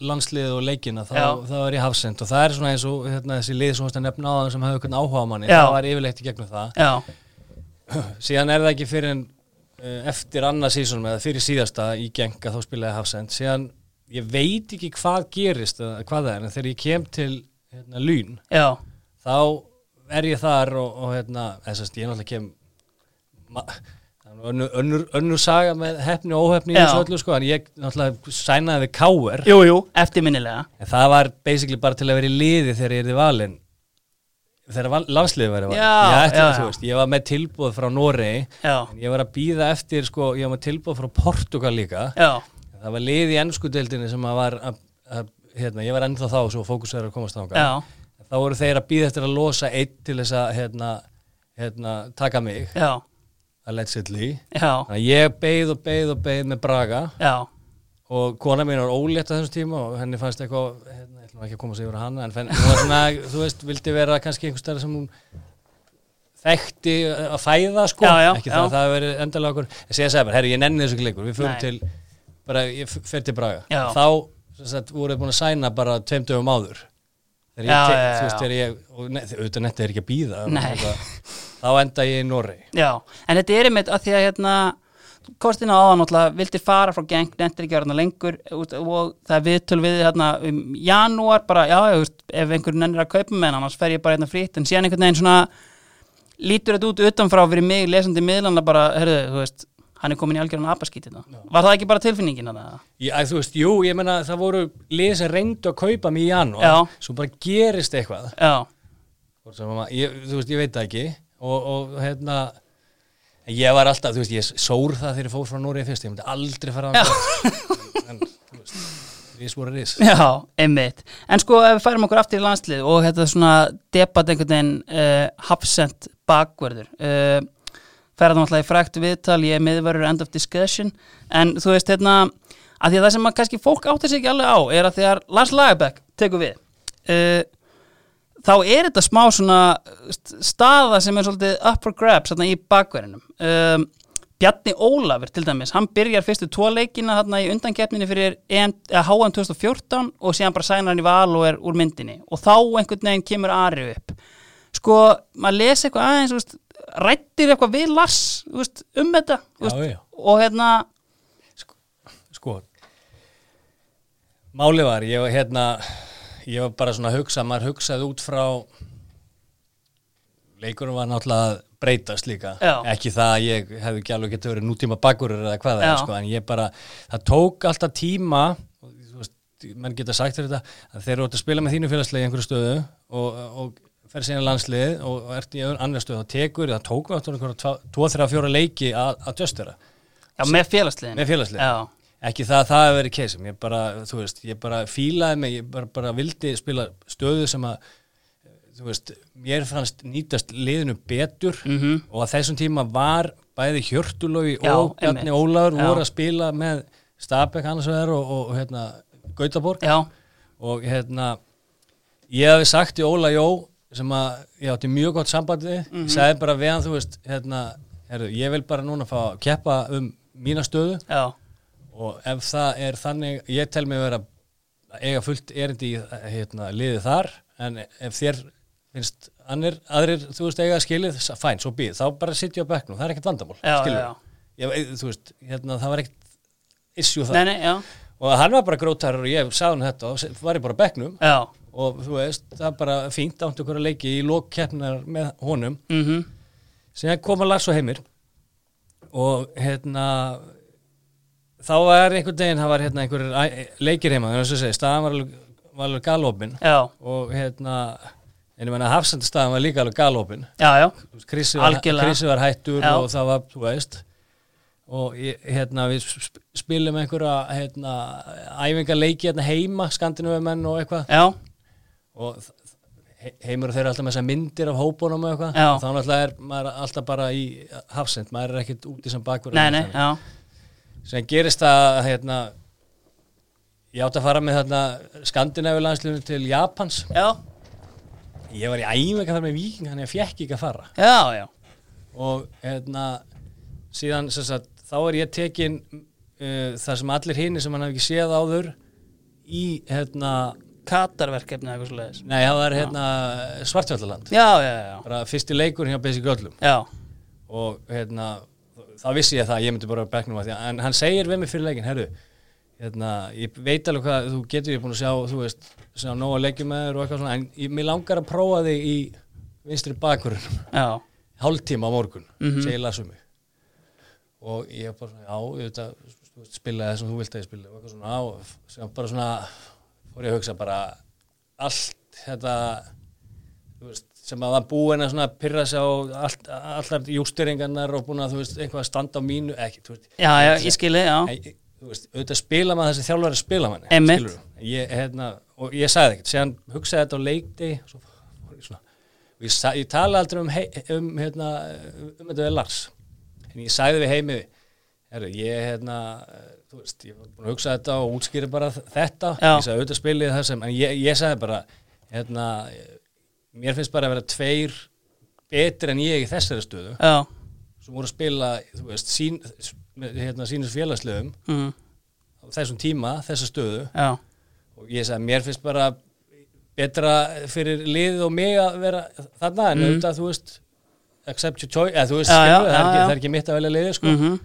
landslið og leikina, þá,
Já.
þá er ég hafsend og það er svona eins og hérna, þessi lið sem þú varst að nefna á það sem hafði eitthvað áhuga á manni,
Já.
það var yfirleitt í gegnum það.
Já,
Síðan er það ekki fyrir en uh, eftir annað sísón með, fyrir síðasta í genga þá spilaði ég hafsend, síðan ég veit ekki hvað gerist, eða hvað það er, en þegar ég kem til hérna, lún,
já,
þá er ég þar og, og hérna, þessast ég náttúrulega kem ma- það er nú önnur, önnur, önnur saga með hefni og óhefni í
Já.
þessu öllu sko, en ég náttúrulega sænaði við káir
jú, jú, eftirminnilega.
en það var basically bara til að vera í liði þegar ég er í valin þegar val, landsliði væri valin
Já,
ég, ætla,
já,
þú
já.
Veist, ég var með tilbúð frá Noregi
Já,
en ég var að býða eftir sko, ég var með tilbúð frá Portugal líka
já,
það var lið í ennskudeldinni sem að var að, að, hérna, ég var ennþá þá svo fókusverður að komast þangað
já,
þá voru þeir að býða eftir að losa einn til þess að hérna, hérna, taka mig
já,
allegedly
já,
þannig að ég beið og beið og beið með Braga
já,
og kona mín var ólétt á þessum tíma og henni fannst eitthvað, hérna, ég ætlum ekki að koma sig yfir á hana en fenn, hún var svona, þú veist, vildi vera kannski einhvers stærðar sem hún þekkti að fæða sko
Já, já,
ekki
já.
það að það hefur verið endalega okkur en síðan sagði bara, herri, ég nenni þessu ekki leikur, við förum
Nei.
til bara, ég f- fer til Braga
Já.
þá, sem sagt, voruð búin að sæna bara tveim dögum áður þegar
Já,
ég,
já,
te-
já,
þú veist,
já.
þegar ég og ne, auðvitað netti er ekki að býða
Nei.
þá enda ég í Noregi
Já, en þetta er einmitt að því að hérna kostin á áðan náttúrulega, vildir fara frá geng, nendir ekki að vera hérna lengur út- og það er viðtöl við þig hérna um janúar bara, já, já, þú veist, ef einhver nennir að kaupa með hann, annars fer ég bara hérna frýtt en síðan einhvern veginn svona lítur þetta út utanfrá fyrir mig, lesandi miðlana bara, herðu, þú veist, hann er komin í algjörðan apaskítið þetta. Var það ekki bara tilfinningin þetta?
Já, þú veist, jú, ég menna það voru lið sem reyndu að kaupa mig í janúar
Já.
svo bara gerist eitthvað
Já,
Hvort sem að ma- ég, þú veist, ég veit það ekki og, og hérna en ég var alltaf, þú veist, ég sór það þegar ég fór frá Núrið fyrst, ég myndi aldrei fara að en, þú veist, rís voru rís
Já, einmitt. En sko, ef við færum okkur aftur í landslið og þetta svona debat einhvern veginn uh, hafsend bakverður. Uh, Færa það náttúrulega í frækt viðtal, ég er miðverður end of discussion, en þú veist hérna, að því að það sem að kannski fólk áttar sig ekki alveg á er að þegar Lars Lagerbeck tekur við, uh, þá er þetta smá svona st- staða sem er svolítið up for grabs þarna í bakverðinum um, Bjarni Ólafur til dæmis, hann byrjar fyrstu tvo leikina þarna í undankeppninni fyrir EM, eða HM 2014 og síðan bara sænar hann í val og er úr myndinni og þá einhvern veginn kemur Ari upp sko, maður lesi eitthvað aðeins þú veist, rættir eitthvað við Lars þú veist, um þetta þú veist,
Já, já.
og hérna,
sko máli var, ég var hérna ég var bara svona að hugsa, maður hugsaði út frá leikurum var náttúrulega að breytast líka
Já.
ekki það að ég hefði ekki alveg getið verið nútíma bakurur eða hvað það er
Já.
sko, en ég bara, það tók alltaf tíma og, þú veist, menn geta sagt þér þetta að þeir eru átt að spila með þínu félagslegi í einhverju stöðu og, og fer síðan í landslið og, og ert í annað stöðu og tekur, það tók við áttúrulega einhverja 2-3-4 leiki að, að djöstera
já, með félagsliðin
með félagslega
já,
ekki það að það hefur verið keisum ég bara, þú veist, ég bara fílaði mig ég bara, bara vildi spila stöðu sem að þú veist, mér fannst nýtast liðinu betur
Mhm.
og að þessum tíma var bæði Hjörtulogi
Já,
og Bjarni
einmitt.
Ólafur
Já.
voru að spila með Stabæk annars vegar og, og, og hérna, Gautaborg
já,
og hérna ég hefði sagt í Óla Jó sem að ég átti mjög gott sambandi mm
Mhm.
ég sagði bara við hann, þú veist hérna, heru, ég vil bara núna fá að keppa um mína stöðu
já,
og ef það er þannig ég tel mig vera að eiga fullt erindi í hérna, liðið þar en ef þér finnst annir, aðrir, þú veist, eiga skilið s- fæn, svo býð, þá bara sitt ég á bekknum það er ekkert vandamál,
Já,
skilur
já, já.
Ég, þú veist, hérna, það var ekkert issue það
nei, nei, já,
og hann var bara grótarur og ég sagði hann þetta og se- var ég bara á bekknum
já,
og þú veist, það er bara fínt áttu hverja leiki í lokkeppnar með honum
mhm,
síðan koma Lars og Heimir og hérna þá var einhvern daginn það var hérna einhver leikir heima þannig að segja, staðan var alveg, var alveg galopin
já,
og hérna en ég menna hafsandastaðan var líka alveg galopin
já, já,
Krissi var,
Algjörlega.
Krissi var hættur
Já.
og það var, þú veist og ég- hérna við sp- spilum einhverja hérna, æfingaleiki hérna heima, skandinavumenn og eitthvað
já,
og þ- he- heimur og þeir eru alltaf með þessar myndir af hópunum og eitthvað,
Já.
og þá náttúrulega er maður alltaf bara í hafsend, maður er ekkert úti sem bakverð
nei, nei, já,
sem gerist að hérna, ég átt að fara með þarna skandinavi landslunum til Japans
já,
ég var í æmveg að fara með viking þannig að ég fekk ekki að fara
já, já,
og hérna síðan sem sagt, þá er ég tekin uh, þar sem allir hini sem hann hafði ekki séð áður í hérna,
Katarverkefni eða eitthvað svoleiðis
nei það var hérna Svartfjallaland
Já, já, já,
bara fyrsti leikur hjá Basic Öllum
já,
og hérna þá vissi ég það að ég myndi bara beknum að því að- en hann segir við mig fyrir leikin, herru hérna, ég veit alveg hvað, þú getur ég búin að sjá þú veist, sjá nóg að leikja með þér og eitthvað svona, en ég, mér langar að prófa þig í vinstri bakurinn
já,
hálftíma á morgun, segir lasum mig og ég bara svona, já, ég veit að spila það sem þú vilt að ég spila og eitthvað svona, á, sem bara svona fór ég að hugsa bara allt þetta þú veist, sem að það búin að svona pyrra sig á allt, allar jústeringarnar og búin að þú veist, eitthvað að standa á mínu ekki, þú veist,
já, já, ég skili, já,
Nei, ég- þú veist, auðvitað spila maður þessi þjálfari spila manni
Einmitt.
skilurðu. ég, hérna, og ég sagði ekkert síðan hugsaði þetta á leikdi svo, fór ég svona, og ég, sa, ég tala aldrei um, hei, um, hérna, um þetta við Lars en ég sagði við heimi herru, ég hérna, eh, þú þú veist, ég var búin að hugsa þetta og útskýri bara þ- þetta
Já.
ég sagði auðvitað spilið það sem, en ég, ég sagði bara hérna, mér finnst bara að vera tveir betri en ég í þessari stöðu
já,
sem voru að spila, þú veist, sín, með, hérna, sínus félagslegum
mm,
á þessum tíma, þessa stöðu
já,
og ég sagði, mér finnst bara betra fyrir liðið og mig að vera þarna, en auðvitað, þú veist accept your choice, eða þú veist,
Mhm. Já, já,
skilur, það, er
já,
ekki,
já.
það er ekki mitt að velja liðið, sko
mhm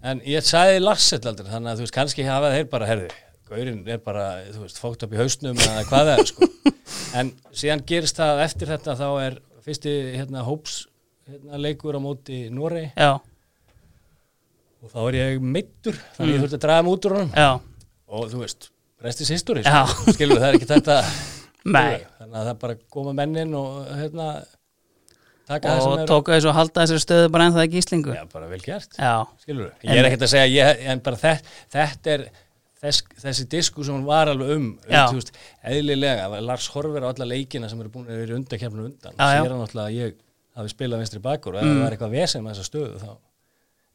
En ég sagði Larsett aldrei, þannig að þú veist, kannski hafa þeir bara, herði, gaurinn er bara, þú veist, fókt upp í hausnum eða hvað það er,
<laughs>
sko. En síðan gerist það eftir þetta, þá er fyrsti, hérna, hóps, hérna, leikur á móti Norei
já,
og þá er ég meittur, þannig
Mhm.
að ég þurfti að draga mig út úr honum
já,
og þú veist, restis history,
Já.
sko. skilur það er ekki þetta.
<laughs> Nei.
Þannig að það er bara að koma mennin og, hérna, taka það
og
sem er,
tók þessu og halda þessari stöðu bara ennþá ekki í slingu
já, bara vel gert.
já,
skilur
En-
ég er ekkert að segja ég, en bara þett, þetta er þess, þessi disku sem hún var alveg um, um
Já.
þú veist, eðlilega var Lars horfir á alla leikina sem eru búin að vera undakefnum undan,
Já, Mm. já.
sér hann náttúrulega að ég hafi spilað vinstri bakur og ef það var eitthvað vesen með þessa stöðu þá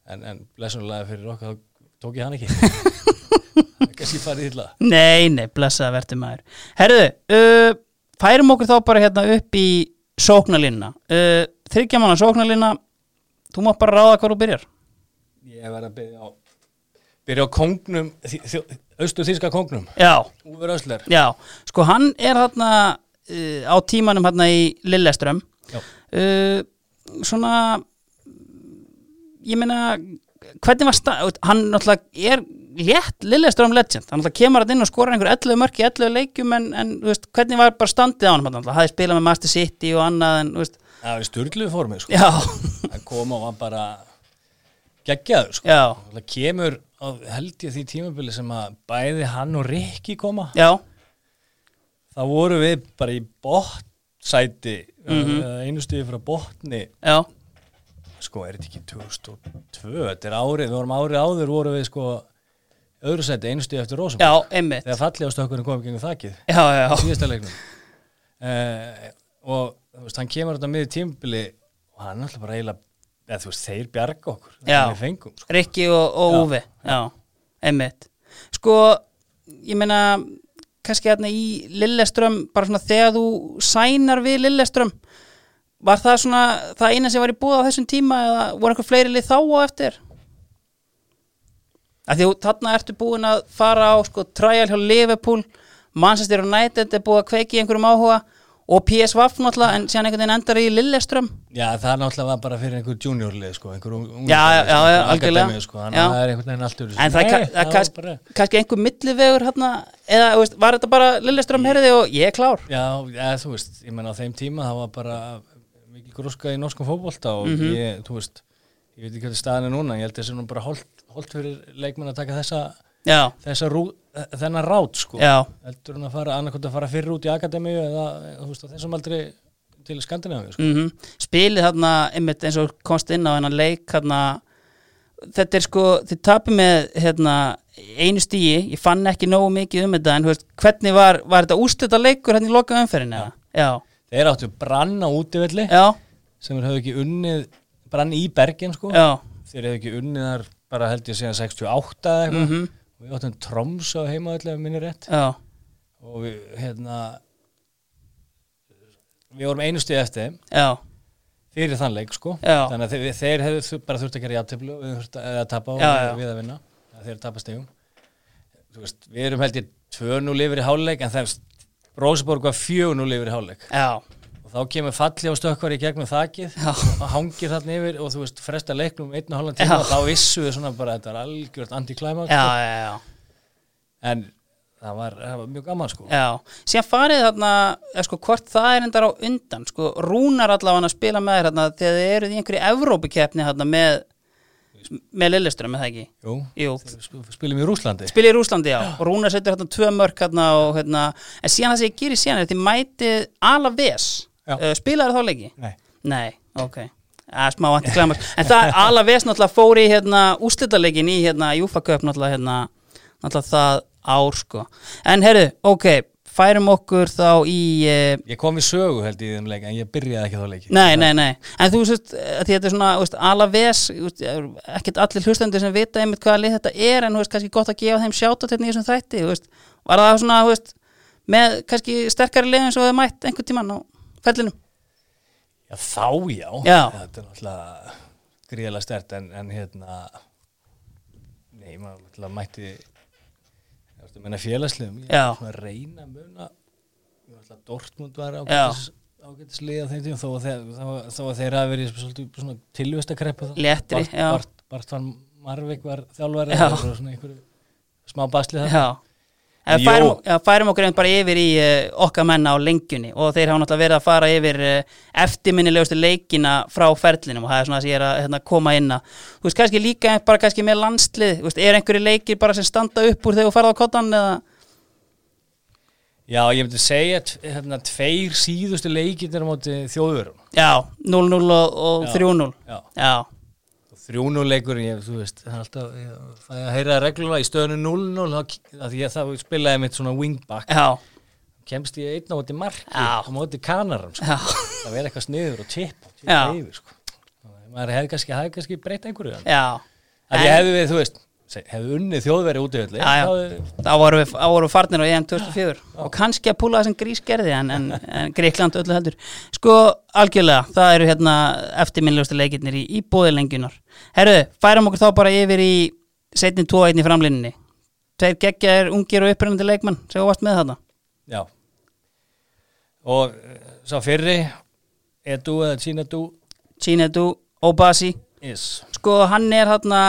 en, en blessunulega fyrir okkar þá tók ég hann ekki það
<laughs>
er kannski farið illa
nei, nei, blessaða verður maður herðu, uh, færum okkur þá bara hérna upp í sóknalínna uh, þryggja manna sóknalínna þú mátt bara ráða hvað þú byrjar
ég var að byrja á byrja á kongnum austu þíska kongnum,
já,
Úfur Ösler
já, sko hann er hérna uh, á tímanum hérna í Lilleström
Já.
uh, svona ég meina hvernig var stað, hann náttúrulega er létt Lilleström legend, hann náttúrulega kemur hann inn og skorar einhver 11 mörk í 11 leikjum en, en þú veist, hvernig var bara standið á hann hann hafði spilað með Master City og annað en, þú veist,
það er styrlu formið sko
já, <laughs>
að koma og hann bara geggjaður sko.
já
Það kemur á held ég því tímabili sem að bæði hann og Rikki koma
já,
þá voru við bara í botnsæti
Mhm.
mm einu stuði frá botni
já,
sko er þetta ekki 2002 þetta er árið, við vorum árið áður voru við sko öðru sæti einu stuði eftir Rósum
já, einmitt já,
þegar falli á stökkurinn komum gengum þakið
já, já,
síðasta leiknum uh, og þú veist, hann kemur þetta miður tímabili og hann er alltaf bara eiginlega eða þú veist, þeir bjarga okkur
Já.
Þannig við fengum sko.
Rikki og, og
Já.
Úfi Já, einmitt Sko, ég meina kannski hérna í Lilleström bara svona þegar þú sænar við Lilleström var það svona það eina sem var í búða á þessum tíma eða voru einhver fleiri lið þá á eftir? Af því þú- þarna ertu búin að fara á sko trial hjá Liverpool Manchester United er búið að kveiki í einhverjum áhuga og PSV náttúrulega en síðan einhvern veginn endar í Lilleström
Já, það náttúrulega var bara fyrir einhver juniorlið, sko, einhver ung
Já, já, já, já, algjörlega.
Sko, þannig
Já.
að það er einhvern veginn alltaf
En það, Nei, það kannski, bara... kannski einhver millivegur hérna, eða þú veist, var þetta bara Lilleström herði og ég er klár
Já, ja, þú veist, ég menna á þeim tíma það var bara mikil gróska í norskum fótbolta og
Mhm.
ég, þú veist, ég veit ekki hvað staðan er núna, ég held að þessi nú bara holt, holt fyrir leikmenn að taka þessa,
Já,
þessa rú, þennan rát, sko
já,
heldur hún að fara, annarkvæmt að fara fyrr út í akademíu eða, þú veist, á þessum aldrei til Skandinavíu, sko
mhm Spilið þarna, einmitt eins og komst inn á hennan leik hérna, þetta er sko, þið tapir með hérna, einu stíi, ég fann ekki nógu mikið um þetta en þú veist, hvernig var, var þetta úrslita leikur hérna í loka umferðinu? Já,
Þeir áttu brann á útivelli
já,
sem þeir höfðu ekki unnið, brann í Bergen, sko
já,
þeir hefðu ekki unnið þar bara held ég síðan 68 eða eitthvað
Mhm.
og við áttum Troms á heimaðallega minni rétt
já,
og við hérna við vorum einu stið eftir þeim
já,
fyrir þann leik sko
Já.
þannig að þeir, þeir hefðu þur- bara þurft að gera játtöflu við þurft að, eða tapa og
Já, já.
við að vinna Eða þeir tapa stegum Þú veist, við erum held ég 2-0 yfir í hálfleik en það er Rósaborg var 4-0 yfir í hálfleik
já,
og þá kemur falli á stökkvar í gegnum þakið
Já.
og hangir þarna yfir og þú veist fresta leiknum um einn og halvan tíma
Já.
og þá vissu við svona bara þetta er algjört antiklæma
já, já, já.
en það var, það var mjög gaman sko
Já, síðan farið þarna eða sko, hvort það er endar á undan sko, rúnar allavega að spila með þér þarna þegar þið eruð í einhverju Evrópikeppni þarna með, með Lilleström er það ekki?
Jú,
Jú,
þeir sp- spilum í Rúslandi
spila í Rúslandi já og rúnar setur þarna tvö mörk þarna og hérna, en síðan það sem ég gerir síðan er að þið mætið Alaves
Já.
uh, spilaðu þá leiki?
Nei.
Nei, ok að, smá antiklæmar, en það Alaves náttúrulega fór í hérna úrslitaleikin í hérna Júfa Köp náttúrulega hérna náttúrulega það ár sko, en herru, ok færum okkur þá í eh,
Ég kom við sögu held ég í þeim leik en ég byrjaði ekki þá leiki
Nei, nei, nei, en þú veist eh, því þetta er svona, þú veist, alaves þú veist, eh, ekkert allir hlustendur sem vita einmitt hvaða lið þetta er, en þú veist, kannski gott að gefa þeim sjátt hérna í þessum þætti, þú veist var það svona, þú veist, með kannski sterkari lið eins og þau mætt einhvern tímann á fellinum,
Já þá já,
Já.
Þetta er náttúrulega gríðlega stert en, en hérna Nei, maður náttúrulega mætti Ég ætti að menna félagsliðum Ég
Já.
er svona að reyna að muna Ég náttúrulega Dortmund var
Já.
ágætis ágætislið á þeim tíum þó að þeir, þó, að- þó að þeir hafi verið í svolítið svona tilvistakreppu þá.
Léttri,
Bart,
já.
Bart, Bart van Marvik var þjálfari
Já.
þeir voru svona einhverju smá baslið það
já En
Jó.
færum, já, færum okkur einmitt bara yfir í uh, okkar menna á lengjunni og þeir hafa náttúrulega verið að fara yfir uh, eftirminnilegustu leikina frá ferlinum og það er svona þess að ég er að hérna, koma inn að þú veist kannski líka bara kannski með landslið þú veist, er einhverju leikir bara sem standa upp úr þegar þú farð á kottan eða
Já, ég myndi segja t- hérna, tveir síðustu leikirnir á móti þjóðurum
Já, 0-0 og, og
Já.
3-0
Já.
Já,
þrjúnuleikur ég, þú veist, það er alltaf ég, fæ að heyra regluna í stöðinu 0-0 þá- að því að það spilaði mitt svona wingback
já,
kemst ég einn á móti marki
Já.
á móti kanarum, sko.
já
það verði eitthvað sniður og tipp og tipp
Já.
yfir, sko Þannig að maður hefði kannski, hefði kannski breytt einhverju en
Já,
að ég hefði við, þú veist, seg- hefði unnið þjóðveri út í öllu
já, já. Þá vorum við, þá vorum við farnir á EM 2004 og kannski að púla þessum grískerði en, en, en Greikland öllu heldur Sko, algjörlega, það eru hérna eftirminnljósta leikirnir í, í bóði lengjunar Herru, færum okkur þá bara yfir í setni 2-1 í framlinninni Þeir geggjaðir ungir og upprennandi leikmann sem þú varst með þarna
Já. og eh, sá fyrri Edu eða Chinadu
Chinedu, Obasi
is
sko hann er hérna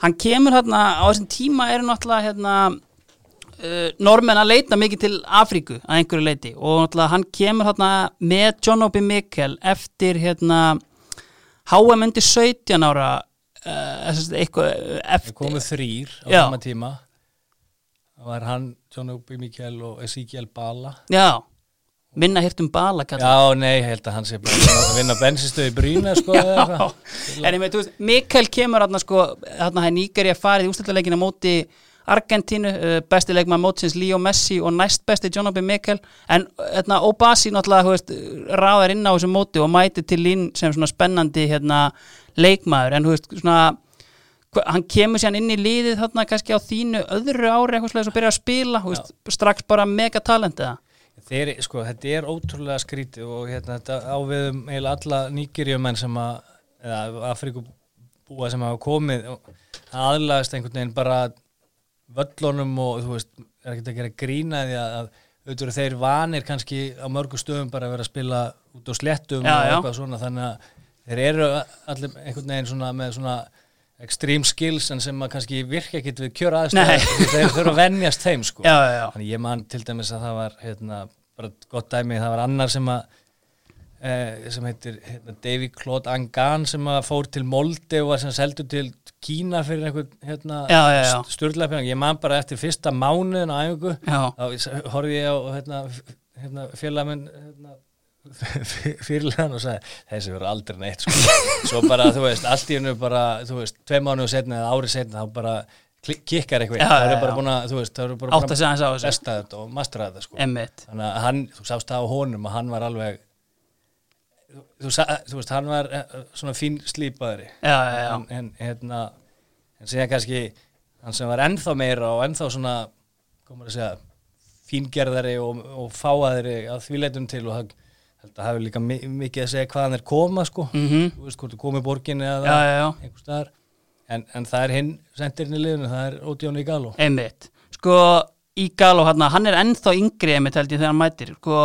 hann kemur hérna á þessum tíma eru náttúrulega hérna uh, normenn að leita mikið til Afríku að einhverju leiti og náttúrulega hann kemur hérna með John Obi Mikkel eftir hérna HM undir 17 ára uh, eitthvað eh,
Það
eftir
komu þrýr á
Já.
sama tíma Það var hann, John Ubi Mikael og Ezekiel Bala
já, minna hirt um bala kallar
Já, nei, ég held að hann sé bara að vinna bensinstöði brína sko, eða eitthvað.
en ég með, þú veist, Mikael kemur hérna sko, hérna hæ Nígeri að farið í ústættileikina móti Argentínu, eh, besti leikmann mótsins Leo Messi og næst besti John Obi Mikael en hérna Obasi náttúrulega þú veist, ráðar inn á þessu móti og mæti til lín sem svona spennandi hérna, leikmaður, en þú veist svona hva- hann kemur sér inn í liðið þarna kannski á þínu öðru ári eitthvað slags og byrja að spila, þú veist, strax bara mega talent eða,
Þeir, sko, þetta er ótrúlega skrítið og hérna, þetta áviðum eiginlega alla nýgerjumenn sem að, eða Afrikubúa sem hafa komið og það aðlaðist einhvern veginn bara völlunum og þú veist, er ekkert að gera grína því að, að auðvitað eru þeir vanir kannski á mörgum stöðum bara að vera að spila út á slettum
Já,
og
já.
eitthvað svona þannig að þeir eru allir einhvern veginn svona með svona extreme skills en sem að kannski virka ekkit við kjör aðstæða þeir þurfa að venjast þeim sko
já, já, já,
Þannig ég man til dæmis að það var hérna, bara gott dæmi, það var annar sem að eh, sem heitir hérna, Davy Claude Angan sem að fór til Molde og var sem seldu til Kína fyrir einhvern hérna,
Já, já, já.
styrlega pening, ég man bara eftir fyrsta mánuðin á æfingu,
Já.
þá s- horfði ég á hérna, f- hérna, félagminn hérna, <laughs> fyrirlegan og sagði þessi verður aldrei neitt sko. svo bara þú veist, allt í hennu bara þú veist, tvei mánuðu setna eða ári setna þá bara klik- kikkar eitthvað
Já,
það
já,
eru bara
já.
búin að, þú veist, það eru bara
átt að segja hans á þessu
besta þetta og mastera þetta sko.
emmitt,
þannig að hann, þú sást það á honum að hann var alveg þú, þú, sa, þú veist, hann var eh, eh, svona fín slípaðri
já, já, já
en, en hérna en síðan kannski hann sem var ennþá meira og ennþá svona komur að segja fíngerðari og, og fáaðri að því leitum til og það held að hafi líka mi- mikið að segja hvaðan er koma sko
Mhm.
þú veist hvort þú komið borginni eða
já, já, já.
einhvers staðar en, en það er hinn sendirinn í liðinu, það er Ódjón Ígaló
einmitt, sko Ígalo hann, hann er ennþá yngri einmitt held ég þegar hann mætir sko,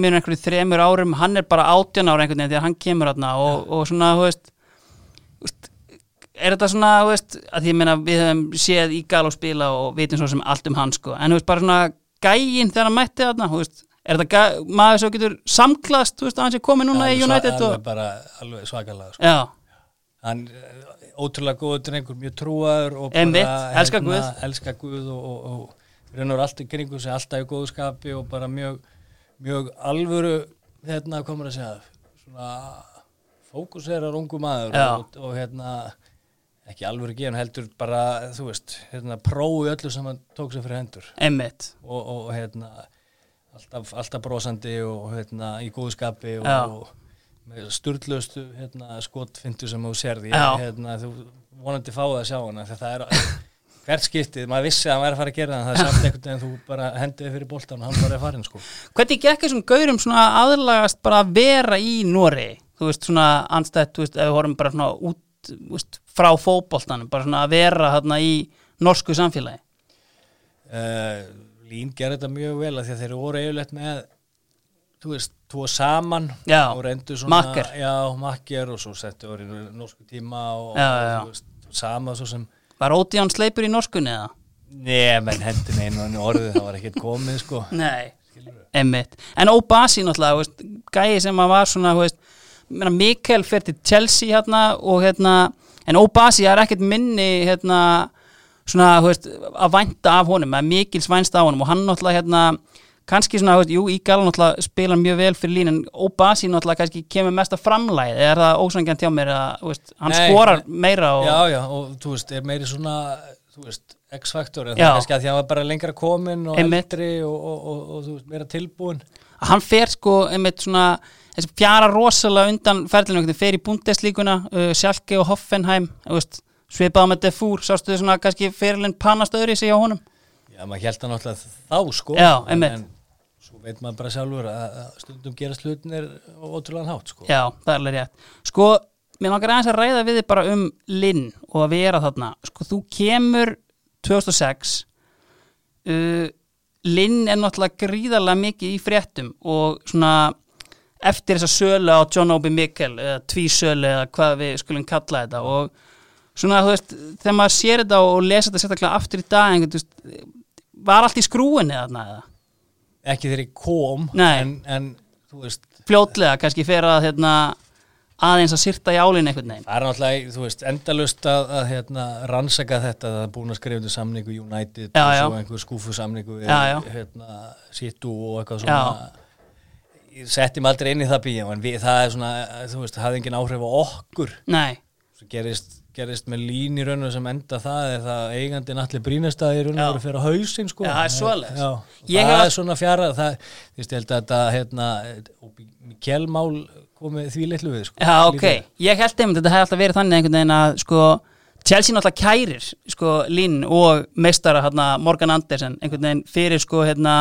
mér er einhverju þremur árum hann er bara átján ára einhvern veginn þegar hann kemur hann og, og svona, þú veist þú veist, er þetta svona, þú veist að því ég meina við hefum séð Ígalo spila og vitum svo sem allt um hann sko en þú veist, bara svona gægin þegar hann mætti hann, þú veist er þetta gæ- maður sem getur samklast, þú veist, að hann sé komið núna í
Alveg sva-
United
alveg
og,
bara alveg svakalega sko.
já,
hann eh, ótrúlega góður drengur, mjög trúaður og
Einmitt, elskar
elska Guð og, og, og reynur allt í kringu sig alltaf í góðu skapi og bara mjög mjög alvöru hérna komur að segja svona fókuserar ungu maður
Já.
og, og hérna ekki alvöru geðan heldur bara, þú veist, hérna, prófi öllu sem hann tók sér fyrir hendur
Einmitt.
og, og hérna, alltaf, alltaf brosandi og hérna, í góðu skapi og,
Já.
og með sturlustu hérna, skotfindu sem þú serði
Já.
hérna, þú vonandi fáið að sjá hana þegar það er hvert skiptið, maður vissi að hann væri að fara að gera það það er samt einhvern veginn þú bara hendiði fyrir boltan og hann bara er farin sko
Hvernig gekk þessum gaurum svona aðlagast bara að vera í Nóri? Þú veist svona anstætt, þú veist, ef við horfum bara svona út þú veist, frá fótboltanum, bara svona að vera þarna í norsku samfélagi.
uh, Lín gerði þetta mjög vel af því að þeir voru eiginlegt með þú veist, tvo saman
Já,
og reyndu svona
makker.
já, makker og svo settu voru í norsku tíma og,
Já, já, já.
og þú veist, sama svo sem
Var Ódíján sleipur í norskunni eða?
Nei, menn hendin einu og einu orðið, það var ekkert komið, sko.
Nei, emmitt. En Óbasi náttúrulega, þú veist, gæi sem að var svona, þú veist, menna Mikael fer til Chelsea hérna og hérna, en Óbasi er ekkert minni hérna svona, þú veist, að vænta af honum, að Mikils vænsta af honum og hann náttúrulega hérna, kannski svona, þú veist, jú, Ígal náttúrulega spila mjög vel fyrir lín en Óbasi náttúrulega kannski kemur mesta framlæð, er það ósangjönd hjá mér að, þú veist, hann
Nei,
skorar meira og,
Já, já, og þú veist, er meiri svona, þú veist, X-faktor, en það
Já.
er kannski að því að hann var bara lengra komin og
Einmitt.
eldri og, og, og, og, þú veist, meira tilbúin.
að hann fer sko einmitt svona þessi fjara rosalega undan ferðinu einhvern veginn fer í Bundeslíkuna uh, Sjalke og Hoffenheim þú veist, svipaða með Defúr sástu þið svona kannski fyrirlinn pannast öðri sig á honum
Já, maður held hann náttúrulega þá, sko.
Já,
en-
einmitt.
En svo veit maður bara sjálfur að að stundum gerast hlutinir ótrúlega hátt, sko.
já, það er alveg rétt sko, mér langar aðeins að ræða við þið bara um Linn og að vera þarna sko, þú kemur 2006 uh, Linn er náttúrulega gríðarlega mikið í fréttum og svona eftir þessa sölu á John Obi Mikkel eða tvísölu eða hvað við skulum kalla þetta og svona þú veist þegar maður sér þetta og lesa þetta sérstaklega aftur í dag einhvern, þú veist, var allt í skrúinni þarna eða
Ekki þegar ég kom,
Nei.
en, en, þú veist,
fljótlega kannski fer að hérna, aðeins að sirta í álinn einhvern veginn
Það er náttúrulega, þú veist, endalust að, að hérna, rannsaka þetta, það er búin að skrifa undir samningu United
Já,
og
já.
svo einhver skúfu samningu
Já, já.
Hérna, Sittu og eitthvað svona Ég setti mig aldrei inn í það bíja en við, það er svona, þú veist, hafði engin áhrif á okkur
nei,
svo gerist, gerist með lín í raunum sem enda það er það eigandi náttúrulega brínastæði í raunum
Já.
voru fyrir á hausinn sko
Já, það er svoleiðis.
Já,
Ég
það
hef
er
all-
svona fjara það, þú veist, ég held að þetta, hérna Mikkelmál komið því litlu við sko,
Já, ok,
Lítið.
ég held einmitt að þetta hefði alltaf verið þannig einhvern veginn að sko, Chelsea náttúrulega kærir sko, Linn og meistara hérna, Morgan Andersen einhvern veginn fyrir sko, hérna,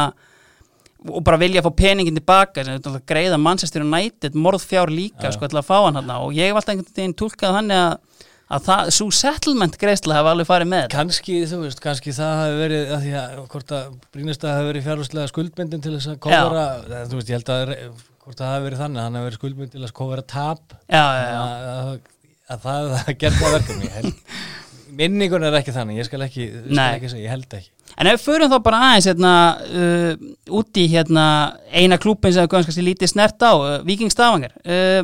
og bara vilja að fá peningin tilbaka sem þetta náttúrulega greiða Manchester United morðfjár líka sko, til að fá hann hérna. og ég hef alltaf einhvern veginn túlkað þannig að, að það, svo settlement greiðsla hefði alveg farið með þetta
Kanski, þú veist, kannski það hafi verið að því að hvort að brínast að hafi verið fjárhúslega skuldbindin til þess að kofara þú veist, ég held að re- hvort að það hafi verið þannig að hann hafi verið skuldbindin til þess að kofara tap
Já, já, já,
að, að, að það að <laughs> gert það verkum ég held, minningun er ekki þannig ég skal ekki, ég skal
Nei.
ekki segja, ég held ekki
En ef við förum þá bara aðeins hérna, uh, út í hérna, eina klúpin sem við kannski kannski lítið snert á, uh, Víking Stafangar. Uh,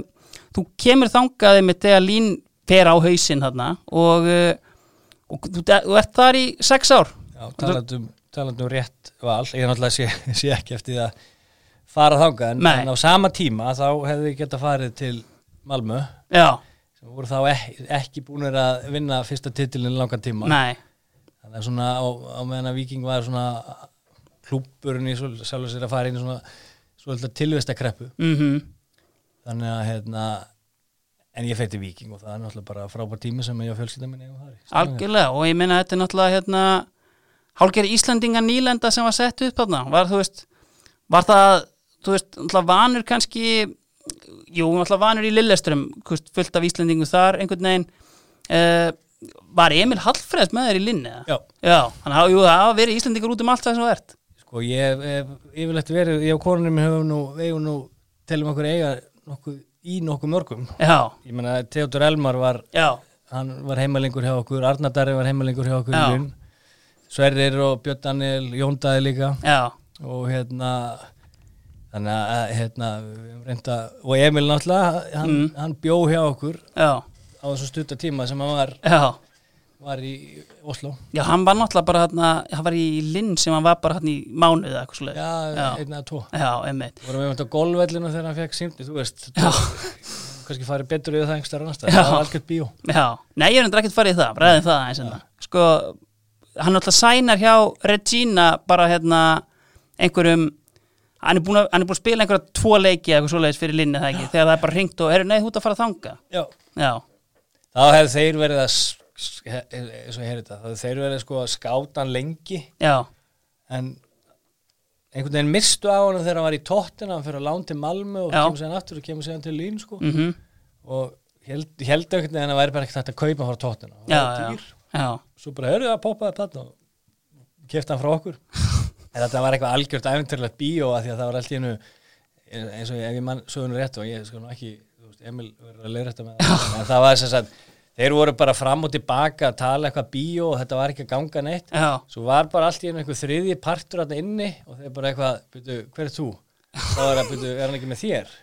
þú kemur þangaði með þegar Lín fer á hausinn þarna og, uh, og þú, þú ert þar í sex ár.
Já, talandum, talandum rétt val, ég náttúrulega sé, <laughs> sé ekki eftir því að fara þangað, en,
Nei.
en á sama tíma þá hefði ég geta farið til Malmö
Já,
sem voru þá ekki, ekki búinir að vinna fyrsta titilin langan tíma
nei,
Þannig að svona á, á meðan að Viking var svona klúppurinn í svo, sjálfur sér að fara inn í svona svolítið tilvestakreppu.
mhm,
Þannig að hérna, en ég fer til Viking og það er náttúrulega bara frábær tími sem ég og fjölskylda minni eigum þar. í.
algjörlega og ég meina þetta er náttúrulega hérna, hálfgerð Íslandinga nýlenda sem var sett upp þarna. Var, þú veist, var það, þú veist, náttúrulega vanur kannski, jú, náttúrulega vanur í Lillestrum, hvist, fullt af Íslandingu þar einhvern veginn. Uh, var Emil Hallfreðs með þér í linni? eða?
Já,
Já, þannig að jú, það hafa verið Íslandingur út um allt það sem þú ert.
sko ég hef- hef yfirlegt verið, ég og konunum minn höfum nú, við höfum nú, telum okkur eiga nokkuð í nokkuð mörgum.
Já,
Ég meina, Theodor Elmar var,
já,
hann var heimalingur hjá okkur, Arnar Darri var heimalingur hjá okkur,
Já.
í Lund. Sverrir og Björn Daniel, Jón Dæði líka.
já,
og hérna þannig að hérna við höfum reynda, og Emil náttúrulega hann,
Mm.
hann bjó hjá okkur
já,
á þessu stutta tíma sem hann var,
já.
var í Oslo
Já, hann var náttúrulega bara hérna, hann var í linn sem hann var bara hérna í mánuð eða eitthvað svo
já, einn eða tvo
Já, emmitt.
vorum við um þetta á golvellinu þegar hann fekk símti þú veist,
Já,
kannski farið betur yfir það einhverstað annars
Já.
staðar. það er algjört bíó
Já, nei, ég er undir ekkert farið í það, ræðum það eins og það. Sko, hann alltaf sænar hjá Regina bara hérna einhverjum, hann er búin að, hann er búin að spila einhverja tvo leiki eða eitthvað svoleiðis fyrir linni það ekki, þegar það er bara hringt og, herru, nei, þú ert að fara að þanga.
Já.
Já,
þá hefðu þeir verið að s- s- he- eins og ég heyri þetta, þá hefðu þeir verið sko að skáta hann lengi
já,
en einhvern veginn mistu á hann þegar hann var í tóttina hann fyrir að lán til Malmö og
Já.
kemur sér hann aftur og kemur sér hann til Lín sko.
mhm,
og held, held einhvern veginn að það væri bara ekkert hægt að kaupa hann frá tóttina
já,
var
já,
dýr.
já,
svo bara hörðu að poppa þetta þarna og kefti hann frá
<laughs>
okkur en þetta var eitthvað algjört æventurlegt bíó að því að það var allt í hennu eins og ég, ef ég mann sögunu rétt og ég sko nú ekki, þú veist, Emil verður að leiða
<laughs>
þetta með það en það var þess að þeir voru bara fram og tilbaka að tala eitthvað bíó og þetta var ekki að ganga neitt
já,
svo var bara allt í hennu einhver þriðji partur þarna inni og þeir bara eitthvað, byrju, hver er þú? þá er að, byrju, er hann ekki með þér?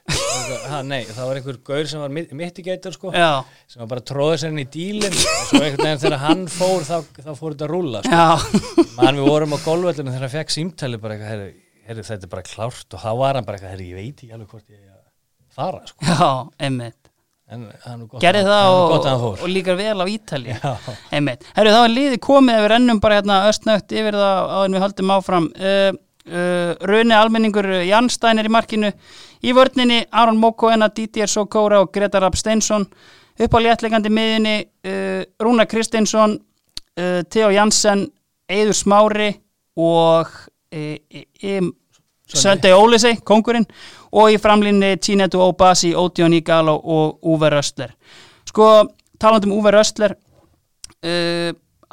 ha, nei, það var einhver gaur sem var mittigætur sko
já,
sem var bara að tróða sér inn í dílinn og svo einhvern veginn þegar hann fór þá, þá fór þetta að rúla sko.
já, <laughs>
mann við vorum á golvöllinu þegar hann fekk símtali bara eitthvað, herri, herri þetta er bara klárt og þá var hann bara eitthvað, herri, ég veit ekki alveg hvort ég eigi að fara sko.
já, einmitt.
en hann er gott,
Gerði
að-
það
það er
og,
gott að hann
og
fór
líkar vel á Ítali.
Já.
Einmitt. Herru, þá er liðið komið ef við rennum bara hérna östnögt yfir það áður en við höldum áfram. Uh, uh, Röni almenningur uh, Janstein er í markinu. Í vörninni Aron Mokoena, Didier Sokora og Gretar Rapp Steinsson. Upp á léttlegandi miðjunni uh, Rúna Kristinsson, uh, Theo Jansen, Eiður Smári og uh, um, Söndi Ólisi, kongurinn og í framlínni Tínetu Óbasi, Ódjón Ígalo og Úver Röstler. Sko, talandi um Úver Röstler, uh,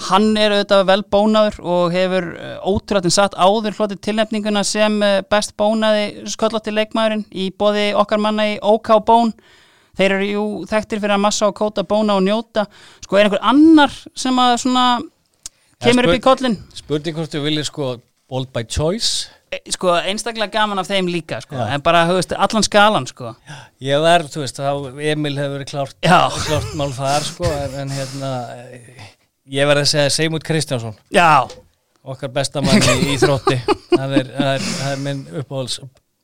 hann er auðvitað vel bónaður og hefur uh, ótrúlega satt áður hlotið tilnefninguna sem uh, best bónaði sköllótti leikmaðurinn í bóði okkar manna í OK Bón þeir eru jú þekktir fyrir að massa og kóta bóna og njóta, sko er einhver annar sem að svona kemur upp í
spurning-
kollin
spurning hvort þú viljið sko bold by choice
E, sko einstaklega gaman af þeim líka sko, en bara, þú veist, allan skalan sko
ég var, þú veist, þá Emil hefur verið klárt,
Já.
klárt mál þar sko, en, en hérna eh, ég verði að segja Seymútt Kristjánsson
já,
okkar bestamann
<laughs>
í, í þrótti það er, það er, það er minn uppáhalds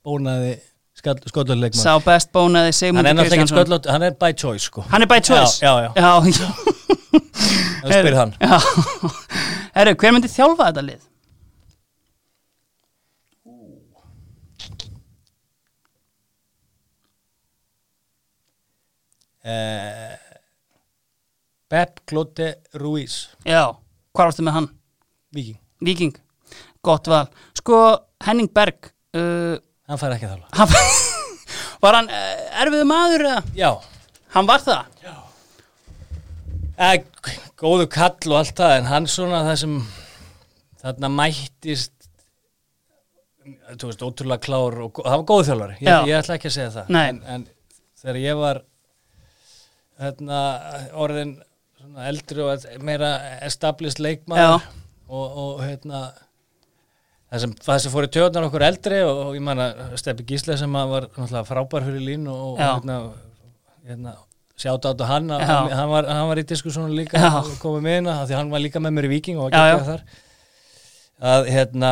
bónaði skollurleikmann
sá best bónaði
hann
Sigmundur
er náttúrulega ekki
Kristjánsson
skollot, hann er by choice sko
hann er by choice
já, já, já,
já.
það spyr hann
Já, <laughs> herru, hver myndi þjálfa þetta lið?
uh, Pep Clote Ruiz
Já, hvað varstu með hann?
viking,
Víking, gott val Sko, Henning Berg uh,
hann fær ekki að þála
hann, <laughs> Var hann uh, erfiðu maður? eða?
já,
Hann var það?
Eh, góðu kall og allt það en hann svona það sem þarna mættist þú veist, ótrúlega klár og gó- það var góð þjálfari,
Já.
ég, ég ætla ekki að segja það
Nei.
en, en þegar ég var þarna orðin svona eldri og et- meira established leikmaður
Já.
og, og hérna það sem, það sem fór í tjóðnar okkur eldri og, og ég manna Steppi Gísla sem að var náttúrulega frábær fyrir lín og, og
Já.
hérna, hérna sjáta át og hann, að-
Já.
hann, hann, var, hann var í diskussónu líka
Já.
og komið með hérna, af því að hann var líka með mér í Viking og
Já,
var ekki þar að hérna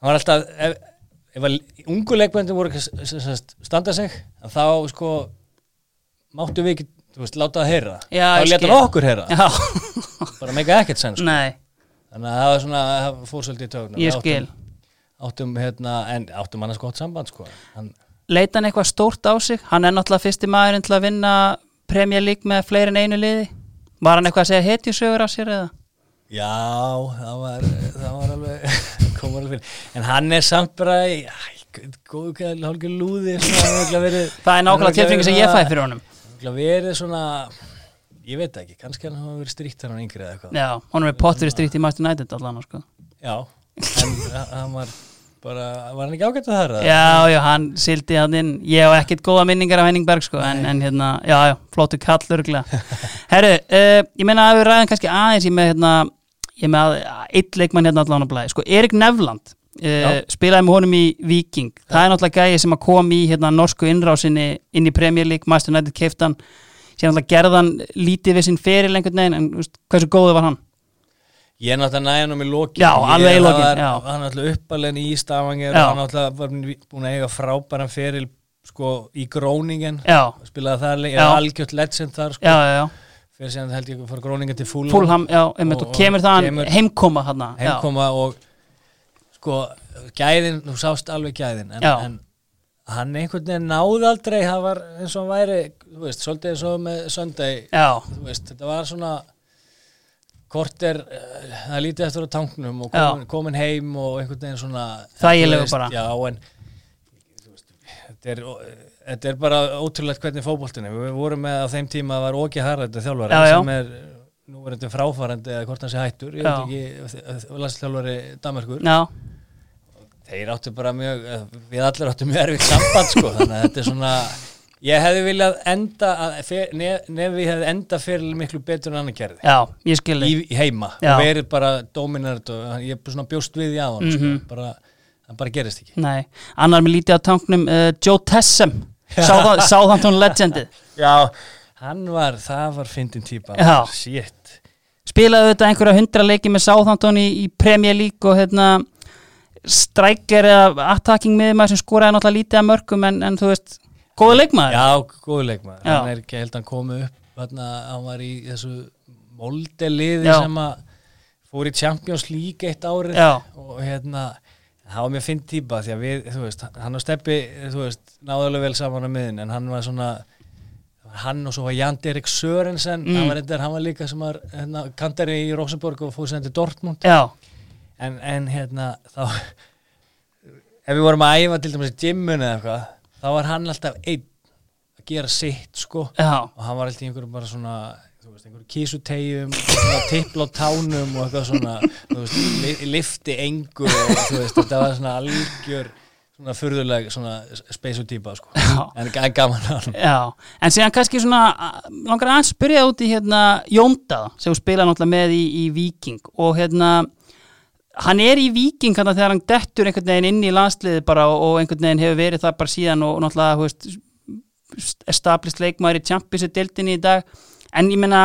hann var alltaf ef, ef að ungu leikmöndir voru ekki að s- s- s- standa sig að þá sko máttu við ekki, þú veist, láta það heyra
Já, ég
þá
skil.
leta hann okkur heyra
Já, <laughs>
bara meika ekkert sens sko.
nei,
þannig að það var svona, það fór svolítið í tögna
ég skil
áttum hérna, en áttum annars gott samband sko hann,
Leita hann eitthvað stórt á sig? Hann er náttúrulega fyrsti maðurinn til að vinna Premier League með fleiri en einu liði Var hann eitthvað að segja hetjusögur af sér eða?
Já, það var, það var alveg, <laughs> komur alveg fyrir. En hann er samt bara, í- æ, góðu kæðal, hálfur lúði. Það
Það er nákvæmlega tilfengi sem ég fæ fyrir honum
Það verið svona, ég veit það ekki, kannski hann hafa verið stríkt hann yngri eða eitthvað.
Já, honum er pottur í strýtt í Master United allan sko.
Já, en <laughs> hann var bara, var hann ekki ágætt að það? eða?
Já, já, hann sildi hann inn Ég hef ekkert góða minningar af Henning Berg sko, en, en hérna, já, já, flóttu kall örgla
<laughs>
Herru, uh, ég meina að við ræðum kannski aðeins ég er með hérna, ég er með að, eitt leikmann hérna allan á blæði sko, Erik Nevland uh,
Já.
spilaði með honum í Viking það er náttúrulega gæði sem að kom í hérna, norsku innrásinni inn í Premier League, Master United keiftan síðan náttúrulega gerðan lítið við sinn feril einhvern veginn, en þú veist, hversu góðu var hann?
Ég er náttúrulega næja hann um í lokin.
Já,
Ég-
alveg í
það
lokin,
var-
já.
Hann er náttúrulega uppalinn í Stavanger
Já.
og hann náttúrulega var búin að eiga frábæran feril sko í gróningen
Já,
spilaði þar, leik-
Já.
er algjört legend þar sko,
já, já, já.
fyrir síðan held ég að fara gróningen til Fulham,
Fúlham, já, einmitt,
Og-
og kemur þaðan
kemur-
heimkoma hann
heimkoma og sko gæðin, þú sást alveg gæðin en,
Já.
en hann einhvern veginn náði aldrei það var eins og hann væri, þú veist, svolítið eins og með Sunday
Já,
þú veist, þetta var svona korter, eh, það er lítið eftir á tanknum og
Já.
komin, komin heim og einhvern veginn svona
Þægilegu
þú veist,
bara.
já, en þú veist, þetta er, þetta er bara ótrúlegt hvernig fótboltinu við vorum með á þeim tíma að var Óki Haraldur þjálfari
Já, já.
sem er nú er þetta fráfarandi eða hvort hann sé hættur ég
Já.
veit ekki, eh, landslþjálfari Danmarkur
já,
þeir áttu bara mjög eh, við allir áttu mjög erfitt samband sko, þannig að þetta er svona ég hefði viljað enda að fer- nef- nef við hefði enda fyrir miklu betur en annar gerði
já, ég skil
í,
þig
í heima
Já.
og verið bara dominant og hann- ég er svona bjóst við í aðan mm
Mhm.
sko, bara, hann bara gerist ekki
Nei, annar með lítið á tanknum uh, Joe Tessem
<laughs>
Sáðan- Southampton legendið
já. hann var, það var fyndin típa
Já.
shit
Spilaði þetta einhverja hundra leiki með Southampton í, í Premier League og hérna striker eða attacking miðmaður sem skoraði náttúrulega lítið að mörgum en, en þú veist, góða leikmaður
já, góðu leikmaður
Já.
hann er ekki held að hann komi upp þarna, hann var í þessu moldeliði
Já.
sem að fór í Champions League eitt árið
Já.
og hérna það var mér finn típa því að við, þú veist hann og Steppi, þú veist, náðulega vel saman á miðin en hann var svona hann og svo var Jan Derek Sörensen
Mm.
hann, var reyndar, hann var líka sem var hérna, kantari í Rosenborg og fór sem til Dortmund
Já,
en, en hérna þá ef við vorum að æfa til dæmis í gymmun eða eitthvað þá var hann alltaf einn að gera sitt sko
já,
og hann var alltaf í einhverju bara svona þú veist, einhverju kísutegjum svona tippla á tánum og eitthvað svona þú veist, li lifti engu og þú veist, þetta var svona algjör svona furðuleg svona speysu típa sko,
Já.
en, en gaman að hann
já En síðan kannski svona a- langar aðeins spyrja út í hérna Jónda sem hún spilaði náttúrulega með í, í Viking og hérna hann er í Viking hann þegar hann dettur einhvern veginn inn í landsliðið bara og, og einhvern veginn hefur verið það bara síðan og náttúrulega þú veist, established leikmaður í Champions deildinni í dag en ég meina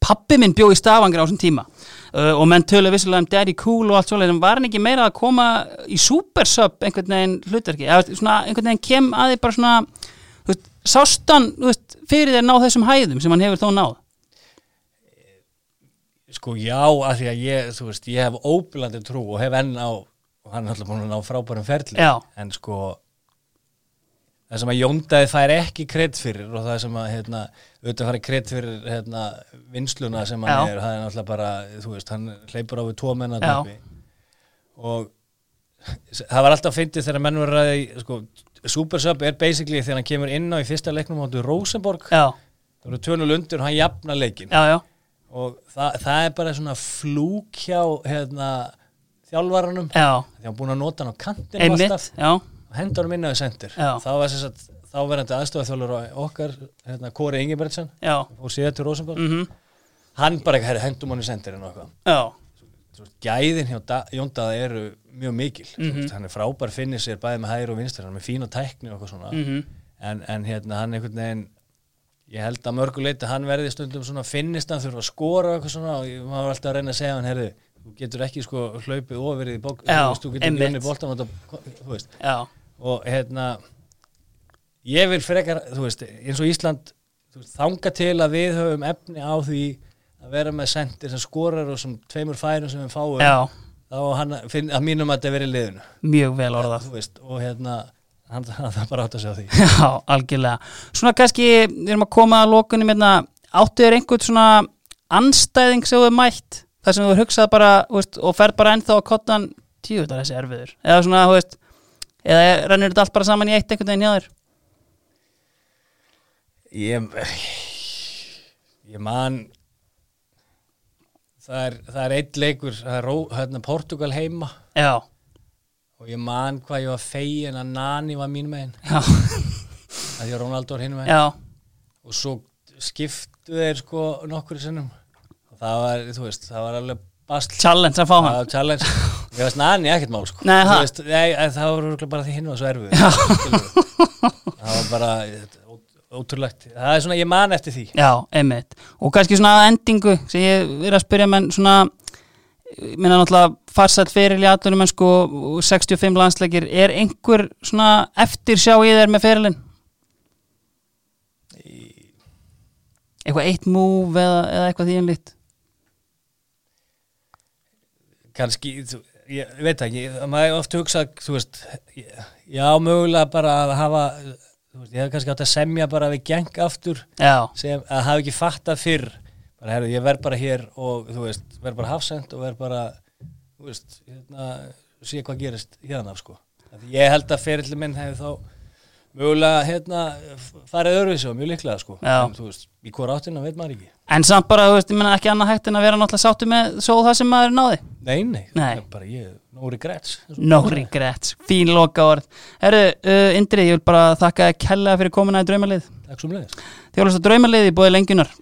pappi minn bjó í stafangir á þessum tíma uh, og menn tölu vissulega um Daddy Cool og allt svoleiðis en var hann ekki meira að koma í supersub einhvern veginn hlutverki eða þú veist, svona, einhvern veginn kem að þið bara svona þú veist, sástan veist, fyrir þér ná þessum hæðum sem hann hefur þó náð
sko já, af því að ég, þú veist, ég hef óbillandi trú og hef enn á og hann er alltaf búin að ná frábærum ferli
Já.
en sko það sem að Jóndaði fær ekki kredd fyrir og það sem að, hérna, auðvitað fær kredd fyrir hérna, vinsluna sem hann
Já.
er það er náttúrulega bara, þú veist, hann hleypur á við tvo menna
Já.
dæmi og það var alltaf fyndið þegar menn voru að ræða í, sko, Supersub er basically þegar hann kemur inn á í fyrsta leiknum áttu Rosenborg
já,
það voru tönul undir og hann jafna leikin
já, já,
og það, það er bara svona flúk hjá hérna, þjálfaranum
já
því hann búin að nota hann á kantinu alltaf
einmitt, já,
og henda honum inn á því sendir
Já.
þá var þess að þá verðandi aðstofaþjálfur okkar, hérna, Kori Ingebertsen
já
og síðan til Rosenborg
mhm,
hann bara, herri, hendum hann í sendir og eitthvað
já,
Þú veist, gæðin hjá da, Jóndaða eru mjög mikil mm -hmm.
Mhm.
hann er frábær finnir sér bæði með hægri og vinstri hann er með fína tækni og eitthvað svona
mhm
en, en hérna hann einhvern veginn ég held að mörguleiti hann verði stundum svona finnist hann þurfa að skora og eitthvað svona og ég- maður var alltaf að reyna að segja hann herði þú getur ekki sko hlaupið ofir í bók
Já,
þú veist, þú getur
einmitt.
ekki unni boltan þú veist
já,
og hérna ég vil frekar, þú veist, eins og Ísland þú veist, þanga til að við höfum efni á því að vera með sendir sem skorar og sem tveimur færum sem við fáum
já,
þá á hann að finn, að mínum að þetta verið liðinu
mjög vel orðað
þú veist, og hérna hann, hann það bara átt að segja því
Já, algjörlega. Svona kannski, við erum að koma að lókunum hérna, áttu þér einhvern svona anstæðing sem þú er mætt, þar sem þú hugsað bara, þú veist, og ferð bara ennþá að kottan, tíu, þetta er þessi erfiður. Eða svona, þú veist, eða rennur þetta allt bara saman í eitt einhvern veginn hjá þér.
Ég, ég man það er, það er eitt leikur það er ró, hérna, Portugal heima
Já,
og ég man hvað ég var fegin að Nani var mín megin
já,
að því að Ronaldo var hinn megin
já,
og svo skiptu þeir sko nokkur sinnum og það var, þú veist, það var alveg basl
challenge að fá
það
hann.
var challenge ég veist Nani ekkert mál sko
Nei,
Þú
ha?
veist, nei, en það var örugglega bara því hinn var svo erfið skilurðu. það var bara ó- ótrúlegt það er svona, ég man eftir því
Já, einmitt. Og kannski svona að endingu sem ég er að spyrja menn svona minna náttúrulega farsætt feril í aðdunum en sko 65 landsleikir er einhver svona eftir sjá í þér með ferilin? eitthvað eitt múf eða, eða eitthvað því einlít
kannski, þú, ég veit það ekki maður hefur oft hugsað, þú veist ég- já, mögulega bara að hafa þú veist, ég hef kannski átt að semja bara við geng aftur,
Já,
sem að hafa ekki fattað fyrr, bara herru, ég verð bara hér og þú veist, verð bara hafsend og verð bara, þú veist hérna, sé hvað gerist hérna sko. Af því ég held að ferillin minn hefði þá mögulega hérna f- farið öðruvísi og mjög líklega sko
Já.
en þú veist, í hvora áttina veit maður ekki
en samt bara, þú veist, ég menna ekki annað hægt en að vera náttúrulega sáttu með svo það sem maður náði
Nei, nei,
Nei.
bara ég, no regrets
No regrets, fín loka orð Herru, uh, Indri, ég vil bara þakka að kella fyrir komuna í draumalið
Takk svo um leiðist
Þjóðlust að draumalið í bóði lengjunar